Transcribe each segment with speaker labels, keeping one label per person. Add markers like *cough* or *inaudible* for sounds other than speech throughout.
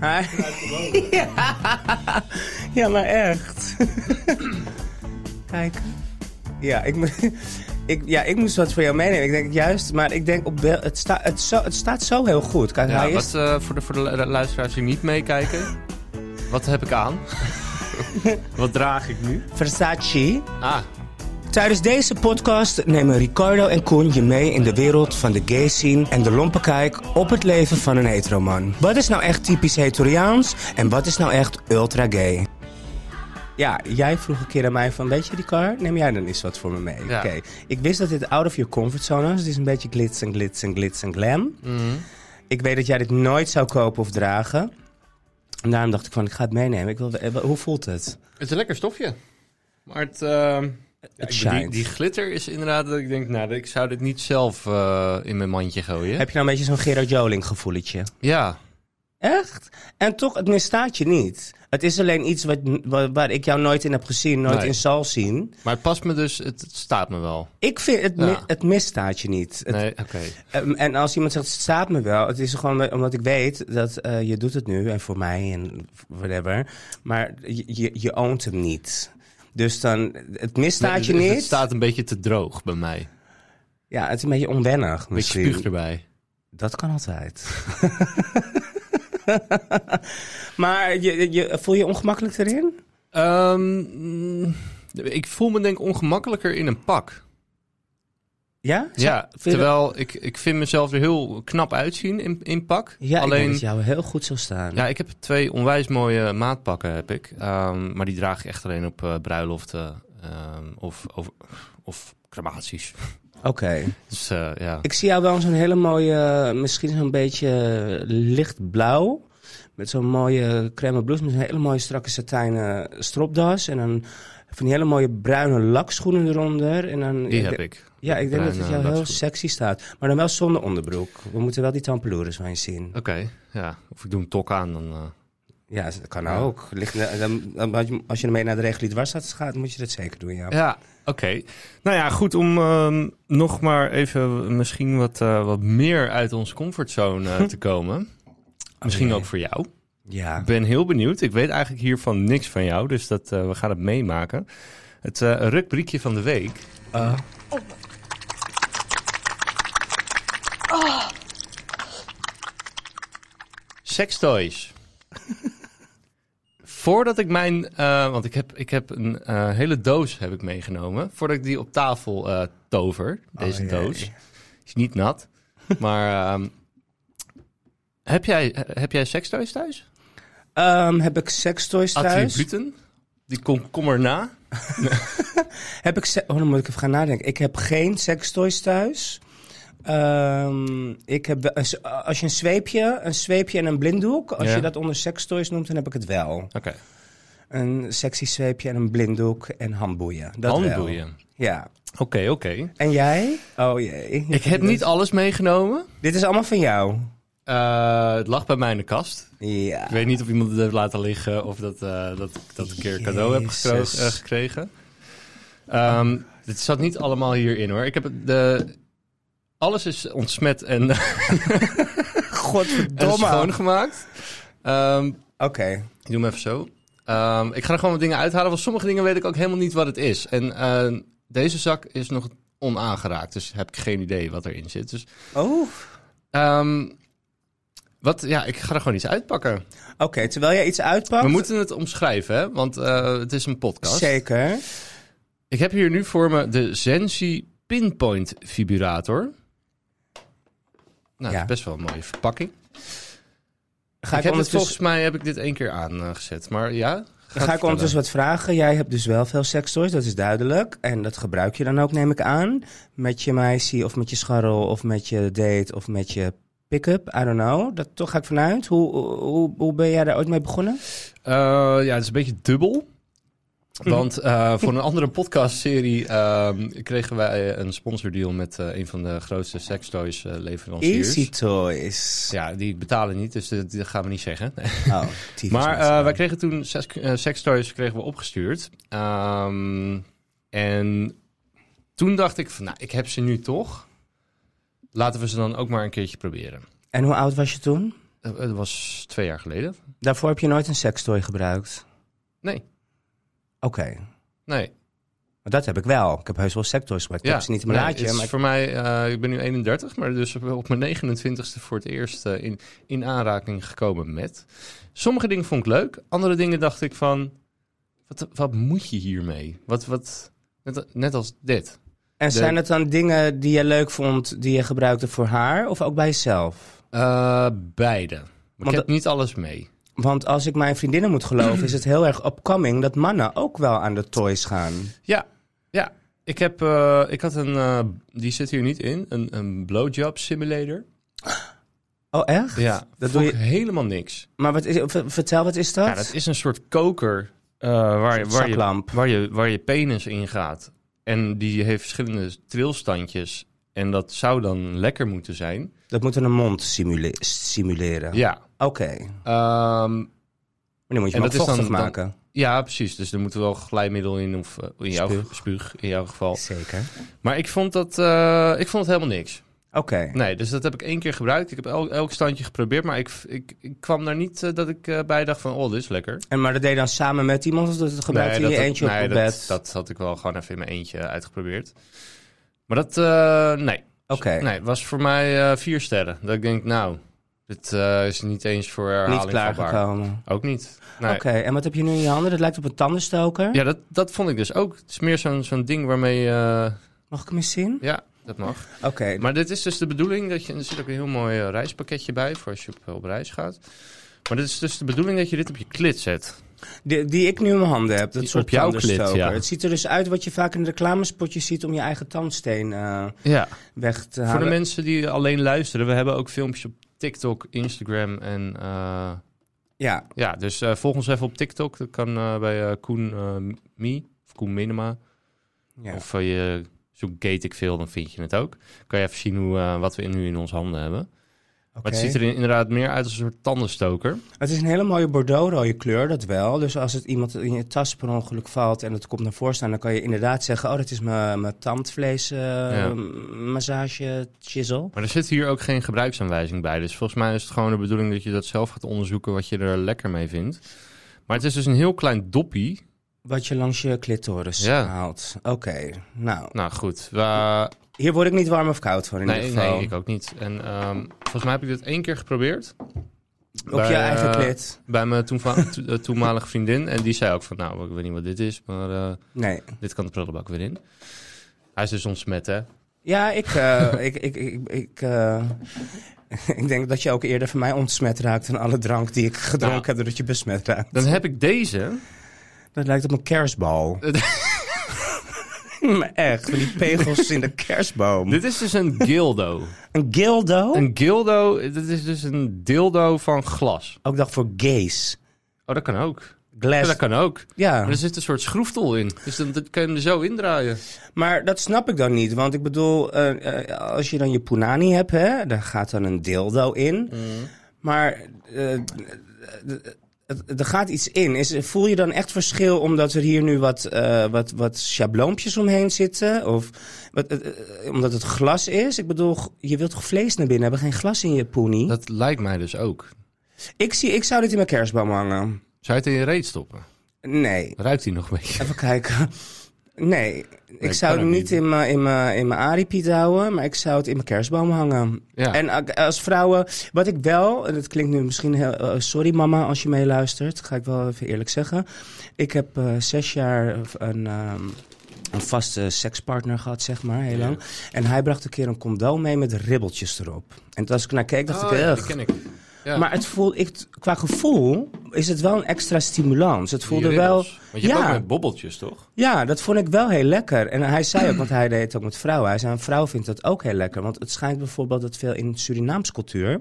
Speaker 1: Hij... Ja. *laughs* ja, maar echt. Kijk. Ja, ik, mo- ik, ja, ik moest wat voor jou meenemen. Ik denk juist, maar ik denk op Bel- het, sta, het, zo, het staat zo heel goed. Kijk,
Speaker 2: Ja,
Speaker 1: hij
Speaker 2: wat
Speaker 1: is...
Speaker 2: eh, voor, de, voor de luisteraars die niet meekijken. wat heb ik
Speaker 1: *laughs*
Speaker 2: aan? wat draag ik nu?
Speaker 1: Versace.
Speaker 2: Ah,
Speaker 1: Tijdens deze podcast nemen Ricardo en Koen je mee in de wereld van de gay scene en de lompe kijk op het leven van een heteroman. Wat is nou echt typisch hetoriaans en wat is nou echt ultra gay? Ja, jij vroeg een keer aan mij van, weet je Ricard, neem jij dan eens wat voor me mee?
Speaker 2: Ja.
Speaker 1: Oké, ik wist dat dit out of your comfort zone was. dus Het is een beetje glitz en glitz en glitz en glam. Ik weet dat jij dit nooit zou kopen of dragen. En daarom dacht ik van, ik ga het meenemen. Ik wil, eh, hoe voelt het?
Speaker 2: het is een lekker stofje. Maar het, ehm,
Speaker 1: Het
Speaker 2: ik bedoel,
Speaker 1: shines.
Speaker 2: die, die glitter is inderdaad dat ik denk, nou, ik zou dit niet zelf eh, in mijn mandje gooien.
Speaker 1: Heb je nou een beetje zo'n Gerard Joling gevoeletje?
Speaker 2: Ja,
Speaker 1: Echt? En toch, het misstaat je niet. Het is alleen iets wat, waar, waar ik jou nooit in heb gezien, nooit
Speaker 2: Nee.
Speaker 1: in zal zien.
Speaker 2: maar het past me dus, het, het staat me wel.
Speaker 1: Ik vind, het, mi-
Speaker 2: Ja.
Speaker 1: het misstaat je niet. Het-
Speaker 2: Nee, oké.
Speaker 1: em, en als iemand zegt, het staat me wel. Het is gewoon we- omdat ik weet dat eh, je doet het nu en voor mij en whatever. Maar je, je, je ownt hem niet. Dus dan, het misstaat
Speaker 2: Nee,
Speaker 1: je
Speaker 2: het-
Speaker 1: niet.
Speaker 2: Het staat een beetje te droog bij mij. Een
Speaker 1: Ja, het is een beetje onwennig
Speaker 2: beetje
Speaker 1: misschien.
Speaker 2: spuug erbij.
Speaker 1: Dat kan altijd. *laughs* maar je, je, voel je ongemakkelijk erin?
Speaker 2: Ehm, mm, ik voel me denk ik ongemakkelijker in een pak.
Speaker 1: Ja?
Speaker 2: Ja,
Speaker 1: vind je
Speaker 2: terwijl ik, ik vind mezelf er heel knap uitzien in, in pak.
Speaker 1: Ja, ik denk
Speaker 2: Alleen,
Speaker 1: dat jou heel goed zou staan.
Speaker 2: ja, ik heb twee onwijs mooie maatpakken, heb ik. Ehm, maar die draag ik echt alleen op eh, bruiloften ehm, of, of, of crematies.
Speaker 1: Oké.
Speaker 2: Dus eh, ja,
Speaker 1: Ik zie jou wel zo'n hele mooie, misschien zo'n beetje lichtblauw. Met zo'n mooie crème blouse, met een hele mooie strakke satijnen stropdas. En dan van die hele mooie bruine lakschoenen eronder. En dan,
Speaker 2: die
Speaker 1: ik
Speaker 2: heb
Speaker 1: denk-
Speaker 2: ik.
Speaker 1: Ja, ik denk dat het
Speaker 2: Bruine
Speaker 1: jou heel
Speaker 2: lakschoen.
Speaker 1: sexy staat. Maar dan wel zonder onderbroek. We moeten wel die tampeloeren van je zien.
Speaker 2: Oké, ja. Of ik doe een tok aan, dan... eh,
Speaker 1: Ja, dat kan
Speaker 2: Ja.
Speaker 1: ook. Ligt, dan, dan- als je- als je ermee naar de reguliere dwarsstraat gaat, moet je dat zeker doen, ja.
Speaker 2: Ja, oké. Nou ja, goed om ehm, nog maar even misschien wat, eh, wat meer uit onze
Speaker 1: *laughs*
Speaker 2: comfortzone eh, te komen. Misschien
Speaker 1: jee.
Speaker 2: ook voor jou.
Speaker 1: Ja.
Speaker 2: Ik ben heel benieuwd. Ik weet eigenlijk hiervan niks van jou, dus dat, eh, we gaan het meemaken. Het eh rubriekje van de week.
Speaker 1: Eh,
Speaker 2: Oh. Sextoys. Voordat ik mijn, eh, want ik heb, ik heb een eh, hele doos heb ik meegenomen. Voordat ik die op tafel eh, tover, deze
Speaker 1: Oh, jee.
Speaker 2: doos. Is niet nat, maar ehm, heb jij, heb jij sextoys thuis?
Speaker 1: ehm, heb ik sextoys thuis?
Speaker 2: Attributen? Die kom, kom erna.
Speaker 1: Heb ik se- oh, dan moet ik even gaan nadenken. Ik heb geen sextoys thuis. Ehm, ik heb wel- als- als je een zweepje, een zweepje en een blinddoek, als
Speaker 2: Ja.
Speaker 1: je dat onder sextoys noemt, dan heb ik het wel.
Speaker 2: Oké,
Speaker 1: Een sexy zweepje en een blinddoek en handboeien. Dat wel.
Speaker 2: handboeien.
Speaker 1: Ja.
Speaker 2: Oké, oké.
Speaker 1: En jij? Oh jee.
Speaker 2: Ik heb niet alles meegenomen.
Speaker 1: Dit is allemaal van jou.
Speaker 2: Eh, het lag bij mij in de kast.
Speaker 1: Ja.
Speaker 2: Ik weet niet of iemand het heeft laten liggen of dat, eh, dat ik dat een keer cadeau heb gekro-
Speaker 1: Jezus.
Speaker 2: eh, gekregen. Ehm, het zat niet allemaal hierin hoor. Ik heb het- de, alles is ontsmet en, *laughs* en
Speaker 1: Godverdomme.
Speaker 2: schoongemaakt. Ehm
Speaker 1: Oké.
Speaker 2: ik doe hem even zo. Ehm, ik ga er gewoon wat dingen uithalen, want sommige dingen weet ik ook helemaal niet wat het is. En eh, deze zak is nog onaangeraakt, dus heb ik geen idee wat erin zit. Dus,
Speaker 1: Oh.
Speaker 2: ehm, wat, ja, ik ga er gewoon iets uitpakken.
Speaker 1: Oké, terwijl jij iets uitpakt.
Speaker 2: We moeten het omschrijven, hè? want eh, het is een podcast.
Speaker 1: Zeker.
Speaker 2: Ik heb hier nu voor me de Sensi Pinpoint Vibrator. Nou, dat
Speaker 1: Ja.
Speaker 2: is best wel een mooie verpakking.
Speaker 1: Ga
Speaker 2: ik
Speaker 1: ik,
Speaker 2: heb het,
Speaker 1: ondertussen,
Speaker 2: volgens mij heb ik dit één keer aangezet, maar ja. ga het
Speaker 1: ga ik
Speaker 2: vertellen.
Speaker 1: ondertussen wat vragen. Jij hebt dus wel veel sextoys, dat is duidelijk. En dat gebruik je dan ook, neem ik aan. Met je meisje of met je scharrel of met je date of met je pick-up. I don't know. Dat, toch ga ik vanuit. Hoe, hoe, hoe ben jij daar ooit mee begonnen?
Speaker 2: Eh, ja, het is een beetje dubbel. Want eh, voor een andere podcastserie ehm, kregen wij een sponsordeal met eh, een van de grootste sextoys eh, leveranciers.
Speaker 1: Easy toys.
Speaker 2: Ja, die betalen niet, dus dat, dat gaan we niet zeggen. *laughs*
Speaker 1: Oh, tyfus
Speaker 2: Maar
Speaker 1: mensen.
Speaker 2: eh, wij kregen toen zes, eh, sextoys kregen we opgestuurd. Ehm, en toen dacht ik van, nou, ik heb ze nu toch. Laten we ze dan ook maar een keertje proberen.
Speaker 1: En hoe oud was je toen?
Speaker 2: Eh, Dat was twee jaar geleden.
Speaker 1: Daarvoor heb je nooit een sextoy gebruikt.
Speaker 2: Nee,
Speaker 1: Oké.
Speaker 2: nee.
Speaker 1: Maar dat heb ik wel. Ik heb heus wel sextoys gebruikt. Ik heb ze niet in mijn
Speaker 2: nee,
Speaker 1: laadje.
Speaker 2: het is
Speaker 1: maar ik-
Speaker 2: voor mij, eh, ik ben nu 31, maar dus op- op mijn 29ste voor het eerst eh, in, in aanraking gekomen met. Sommige dingen vond ik leuk, andere dingen dacht ik van, wat, wat moet je hiermee? Wat, wat, net, net als dit.
Speaker 1: En
Speaker 2: de-
Speaker 1: zijn het dan dingen die je leuk vond, die je gebruikte voor haar? Of ook bij jezelf?
Speaker 2: Eh, beide. Maar
Speaker 1: Want
Speaker 2: ik heb niet alles mee.
Speaker 1: Want als ik mijn vriendinnen moet geloven, is het heel erg upcoming dat mannen ook wel aan de toys gaan.
Speaker 2: Ja, ja. Ik, heb, eh, ik had een, eh, die zit hier niet in, een, een blowjob simulator.
Speaker 1: Oh, echt?
Speaker 2: Ja,
Speaker 1: Dat
Speaker 2: dat
Speaker 1: doe
Speaker 2: doe
Speaker 1: je-
Speaker 2: ik helemaal niks.
Speaker 1: Maar wat is, ver- vertel, wat is dat?
Speaker 2: Ja, dat is een soort koker eh, waar, je-
Speaker 1: Een
Speaker 2: waar, je,
Speaker 1: zaklamp.
Speaker 2: waar, je, waar je penis in gaat. En die heeft verschillende trilstandjes. En dat zou dan lekker moeten zijn.
Speaker 1: Dat moet een mond simule- simuleren.
Speaker 2: Ja.
Speaker 1: Oké. Maar
Speaker 2: Ehm,
Speaker 1: dan moet je hem
Speaker 2: En
Speaker 1: ook
Speaker 2: dat is dan-
Speaker 1: vochtig
Speaker 2: dan-
Speaker 1: maken.
Speaker 2: ja, precies. Dus er moet wel glijmiddel in. Of eh, in jouw
Speaker 1: Spuug.
Speaker 2: spuug. in jouw geval.
Speaker 1: Zeker.
Speaker 2: Maar ik vond, dat, eh, ik vond het helemaal niks.
Speaker 1: Oké.
Speaker 2: Nee, dus dat heb ik één keer gebruikt. Ik heb el- elk standje geprobeerd. Maar ik, ik, ik kwam daar niet eh, dat ik eh, bij dacht van... Oh, dit is lekker.
Speaker 1: En maar dat deed je dan samen met iemand of dat gebruikte je
Speaker 2: dat-
Speaker 1: eentje
Speaker 2: nee,
Speaker 1: op
Speaker 2: dat,
Speaker 1: het bed?
Speaker 2: Dat had ik wel gewoon even in mijn eentje uitgeprobeerd. Maar dat, eh, nee.
Speaker 1: Oké.
Speaker 2: Nee, was voor mij eh, vier sterren. Dat ik denk, nou, dit eh, is niet eens voor herhaling
Speaker 1: Niet
Speaker 2: vatbaar.
Speaker 1: klaargekomen.
Speaker 2: Ook niet. Nee.
Speaker 1: Oké, en wat heb je nu in je handen? Dat lijkt op een tandenstoker.
Speaker 2: Ja, dat, dat vond ik dus ook. Het is meer zo'n zo'n ding waarmee... eh,
Speaker 1: Mag ik hem eens zien?
Speaker 2: ja, dat mag.
Speaker 1: Oké.
Speaker 2: Maar dit is dus de bedoeling dat je... en Er zit ook een heel mooi eh, reispakketje bij voor als je op, op reis gaat. Maar dit is dus de bedoeling dat je dit op je klit zet.
Speaker 1: Die, die ik nu in mijn handen heb, dat
Speaker 2: Die
Speaker 1: soort
Speaker 2: op jouw
Speaker 1: tandenstoker.
Speaker 2: clit, ja.
Speaker 1: Het ziet er dus uit wat je vaak in de reclamespotjes ziet om je eigen tandsteen eh,
Speaker 2: Ja.
Speaker 1: weg te
Speaker 2: Voor
Speaker 1: halen.
Speaker 2: de mensen die alleen luisteren, we hebben ook filmpjes op TikTok, Instagram en... eh,
Speaker 1: ja,
Speaker 2: ja, dus eh, volg ons even op TikTok. Dat kan eh, bij eh, Koen eh Mie of Koen Minema.
Speaker 1: ja.
Speaker 2: Of eh, je zoekt Gate ik veel, dan vind je het ook. Kan je even zien hoe, eh, wat we nu in onze handen hebben. Maar
Speaker 1: oké.
Speaker 2: het ziet er in- inderdaad meer uit als een soort tandenstoker.
Speaker 1: Het is een hele mooie bordeauxrode kleur, dat wel. Dus als het iemand in je tas per ongeluk valt en het komt naar voren staan, dan kan je inderdaad zeggen: Oh, dat is mijn mijn tandvlees eh,
Speaker 2: Ja.
Speaker 1: massage chisel.
Speaker 2: Maar er zit hier ook geen gebruiksaanwijzing bij. Dus volgens mij is het gewoon de bedoeling dat je dat zelf gaat onderzoeken wat je er lekker mee vindt. Maar het is dus een heel klein doppie.
Speaker 1: Wat je langs je clitoris
Speaker 2: Ja.
Speaker 1: haalt. Oké, nou.
Speaker 2: Nou goed, we,
Speaker 1: Hier word ik niet warm of koud van in
Speaker 2: nee,
Speaker 1: ieder geval.
Speaker 2: nee, ik ook niet. En ehm, volgens mij heb ik dit één keer geprobeerd.
Speaker 1: Op je
Speaker 2: Bij,
Speaker 1: eigen
Speaker 2: eh,
Speaker 1: klit.
Speaker 2: bij mijn toenva- *laughs* to- eh, toenmalige vriendin. En die zei ook van, nou, ik weet niet wat dit is, maar eh,
Speaker 1: Nee.
Speaker 2: dit kan de prullenbak weer in. Hij is dus ontsmet, hè?
Speaker 1: Ja, ik, eh, ik, ik, ik, ik, eh, *laughs* ik denk dat je ook eerder van mij ontsmet raakt aan alle drank die ik gedronken
Speaker 2: Nou.
Speaker 1: heb, doordat je besmet raakt.
Speaker 2: Dan heb ik deze.
Speaker 1: Dat lijkt op een kerstbal. maar echt, van die pegels in de kerstboom.
Speaker 2: *laughs* Dit is dus een gildo.
Speaker 1: Een gildo?
Speaker 2: Een gildo, dit is dus een dildo van glas.
Speaker 1: Ook dacht voor gays.
Speaker 2: Oh, dat kan ook. Ja,
Speaker 1: Glass.
Speaker 2: dat kan ook.
Speaker 1: Ja,
Speaker 2: Maar er zit een soort schroeftel in. Dus dan dat kan je hem er zo indraaien.
Speaker 1: maar dat snap ik dan niet. Want ik bedoel, eh, eh, als je dan je punani hebt, hè, daar gaat dan een dildo in. Maar eh, eh, eh, er gaat iets in. Is, voel je dan echt verschil omdat er hier nu wat, eh wat, wat schabloompjes omheen zitten? Of wat, eh, eh, omdat het glas is? Ik bedoel, g- je wilt toch vlees naar binnen hebben, geen glas in je poenie?
Speaker 2: Dat lijkt mij dus ook.
Speaker 1: Ik, zie, ik zou dit in mijn kerstboom hangen.
Speaker 2: Zou je het in je reet stoppen?
Speaker 1: Nee,
Speaker 2: Ruikt hij nog een beetje?
Speaker 1: even kijken. Nee, ik
Speaker 2: kan
Speaker 1: zou het
Speaker 2: ook
Speaker 1: niet
Speaker 2: niet.
Speaker 1: in mijn- in mijn in mijn aripiet houden, maar ik zou het in mijn kerstboom hangen.
Speaker 2: Ja.
Speaker 1: En a- als vrouwen, wat ik wel, en het klinkt nu misschien heel. eh, sorry mama als je meeluistert, ga ik wel even eerlijk zeggen. Ik heb eh, zes jaar een, ehm, een vaste sekspartner gehad, zeg maar, heel
Speaker 2: Ja.
Speaker 1: lang. En hij bracht een keer een condoom mee met ribbeltjes erop. En toen als ik naar keek, dacht
Speaker 2: Oh,
Speaker 1: ik,
Speaker 2: ja,
Speaker 1: "Ugh."
Speaker 2: die ken ik. Ja.
Speaker 1: Maar het voel, ik, qua gevoel is het wel een extra stimulans. Het voelde wel.
Speaker 2: Want je hebt
Speaker 1: Ja.
Speaker 2: ook met bobbeltjes, toch?
Speaker 1: Ja, dat vond ik wel heel lekker. En hij zei ook, want hij deed het ook met vrouwen. Hij zei, een vrouw vindt dat ook heel lekker. Want het schijnt bijvoorbeeld dat veel in Surinaams cultuur.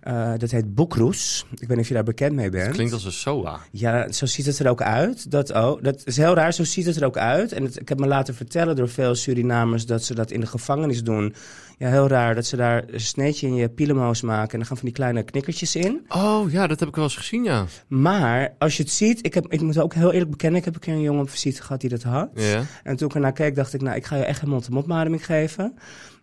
Speaker 1: eh, dat heet boekroes. Ik weet niet of je daar bekend mee bent.
Speaker 2: Klinkt als een soa.
Speaker 1: Ja, zo ziet het er ook uit. Dat, oh, dat is heel raar, zo ziet het er ook uit. En het- ik heb me laten vertellen door veel Surinamers dat ze dat in de gevangenis doen. Ja, heel raar dat ze daar een sneetje in je pielemoos maken. En dan gaan van die kleine knikkertjes in.
Speaker 2: Oh ja, dat heb ik wel eens gezien, ja.
Speaker 1: Maar als je het ziet, ik, heb, ik moet ook heel eerlijk bekennen, ik heb een keer een jongen op visite gehad die dat had.
Speaker 2: Ja.
Speaker 1: En toen ik ernaar keek, dacht ik, nou, ik ga je echt een mond-to-mond beademing geven.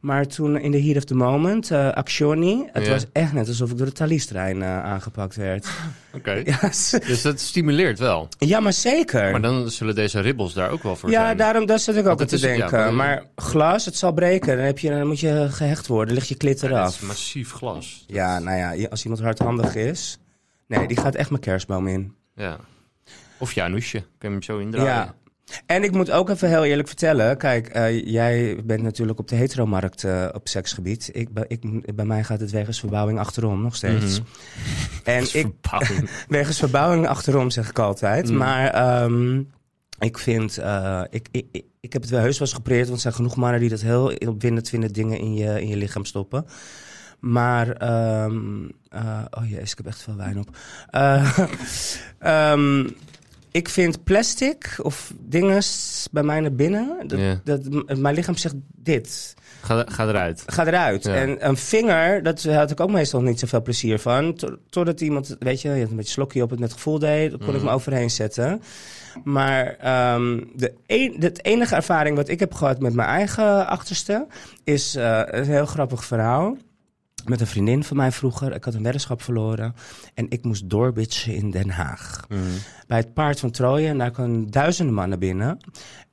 Speaker 1: Maar toen in de Heat of the Moment, eh Actioni. Het
Speaker 2: Ja.
Speaker 1: was echt net alsof ik door de Thalys-trein eh, aangepakt werd. *laughs*
Speaker 2: Oké.
Speaker 1: ja, s-
Speaker 2: Dus dat stimuleert wel.
Speaker 1: ja, maar zeker.
Speaker 2: Maar dan zullen deze ribbels daar ook wel voor
Speaker 1: ja,
Speaker 2: zijn.
Speaker 1: daarom dat zat ik ook
Speaker 2: Want
Speaker 1: aan te
Speaker 2: het is- ja,
Speaker 1: denken.
Speaker 2: maar-
Speaker 1: maar glas, het zal breken. Dan, heb je, dan moet je gehecht worden. Dan ligt je klit
Speaker 2: Ja, dat is
Speaker 1: eraf.
Speaker 2: massief glas.
Speaker 1: Ja, nou ja, je- als iemand hardhandig is. Nee, die gaat echt mijn kerstboom in.
Speaker 2: Ja. Of Janusje, kun je hem zo indraaien. *laughs*
Speaker 1: Ja. En ik moet ook even heel eerlijk vertellen. Kijk, eh, jij bent natuurlijk op de heteromarkt eh op seksgebied. Ik, bij- ik, bij mij gaat het wegens verbouwing achterom nog steeds. En ik,
Speaker 2: Verbouwing.
Speaker 1: wegens verbouwing achterom zeg ik altijd. Maar ehm, ik vind, eh, ik, ik, ik, ik heb het wel heus wel eens geprobeerd. Want er zijn genoeg mannen die dat heel opwindend vinden. Dingen in je, in je lichaam stoppen. Maar, ehm, eh, oh jezus, ik heb echt veel wijn op. Eh, *laughs* ehm, ik vind plastic of dingen bij mij naar binnen. Dat,
Speaker 2: Ja.
Speaker 1: dat, m- mijn lichaam zegt dit.
Speaker 2: Ga, ga eruit.
Speaker 1: *laughs* Ga eruit.
Speaker 2: Ja.
Speaker 1: En een vinger, dat had ik ook meestal niet zoveel plezier van. To- Totdat iemand, weet je, je had een beetje slokje op het met gevoel deed. Dat kon ik me overheen zetten. Maar ehm, de, een, de enige ervaring wat ik heb gehad met mijn eigen achterste... is eh, een heel grappig verhaal. Met een vriendin van mij vroeger. Ik had een weddenschap verloren. En ik moest doorbitchen in Den Haag.
Speaker 2: Mm.
Speaker 1: Bij het paard van Troje. En daar kwamen duizenden mannen binnen.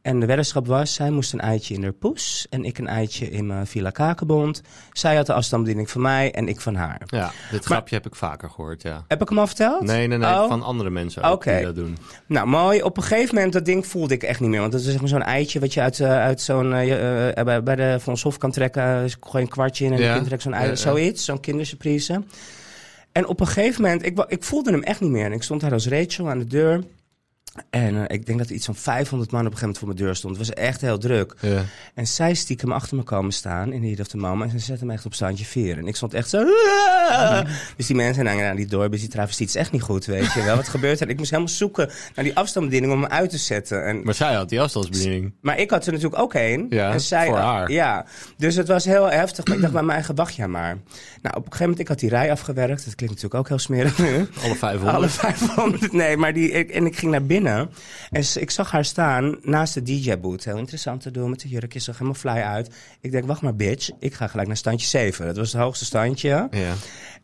Speaker 1: En de weddenschap was, zij moest een eitje in haar poes. En ik een eitje in mijn Villa Kakenbond. Zij had de afstandsbediening van mij en ik van haar.
Speaker 2: Ja, dit grapje heb ik vaker gehoord, ja.
Speaker 1: Heb ik hem al verteld?
Speaker 2: Nee, nee, nee,
Speaker 1: Oh.
Speaker 2: van andere mensen ook
Speaker 1: Oké.
Speaker 2: die dat doen.
Speaker 1: Nou, mooi. Op een gegeven moment, dat ding voelde ik echt niet meer. Want dat is zeg maar zo'n eitje wat je uit, eh, uit zo'n, eh, je, eh, bij, bij de Van ons Hof kan trekken. Eh, Dus ik gooi een kwartje in en
Speaker 2: Ja.
Speaker 1: een kind trekt zo'n ei,
Speaker 2: Ja, ja.
Speaker 1: zoiets. Zo'n kindersurprise. En op een gegeven moment, ik, wa- ik voelde hem echt niet meer. En ik stond daar als Rachel aan de deur. En eh, ik denk dat er iets van 500 man op een gegeven moment voor mijn deur stond. Het was echt heel druk.
Speaker 2: Ja.
Speaker 1: En zij stiekem achter me komen staan in de Heat of the Moment. En ze zetten me echt op standje 4. En ik stond echt zo... Dus die mensen hangen aan die doorbus, dus die travestie. Het is echt niet goed, weet je wel. Wat gebeurt er? Ik moest helemaal zoeken naar die afstandsbediening om hem uit te zetten. En,
Speaker 2: Maar zij had die afstandsbediening.
Speaker 1: maar ik had er natuurlijk ook één.
Speaker 2: Ja,
Speaker 1: en zij,
Speaker 2: voor haar.
Speaker 1: Ja, dus het was heel heftig. Maar ik dacht bij mijn eigen, wacht ja maar. Nou, op een gegeven moment, ik had die rij afgewerkt. Dat klinkt natuurlijk ook heel smerig nu.
Speaker 2: Alle 500.
Speaker 1: Alle
Speaker 2: *laughs*
Speaker 1: 500, nee, maar die, ik, en ik ging naar binnen en ze- ik zag haar staan naast de DJ-boot. Heel interessant te doen met de jurkje, zag helemaal fly uit. Ik denk, wacht maar bitch, ik ga gelijk naar standje 7. Dat was het hoogste standje.
Speaker 2: Ja.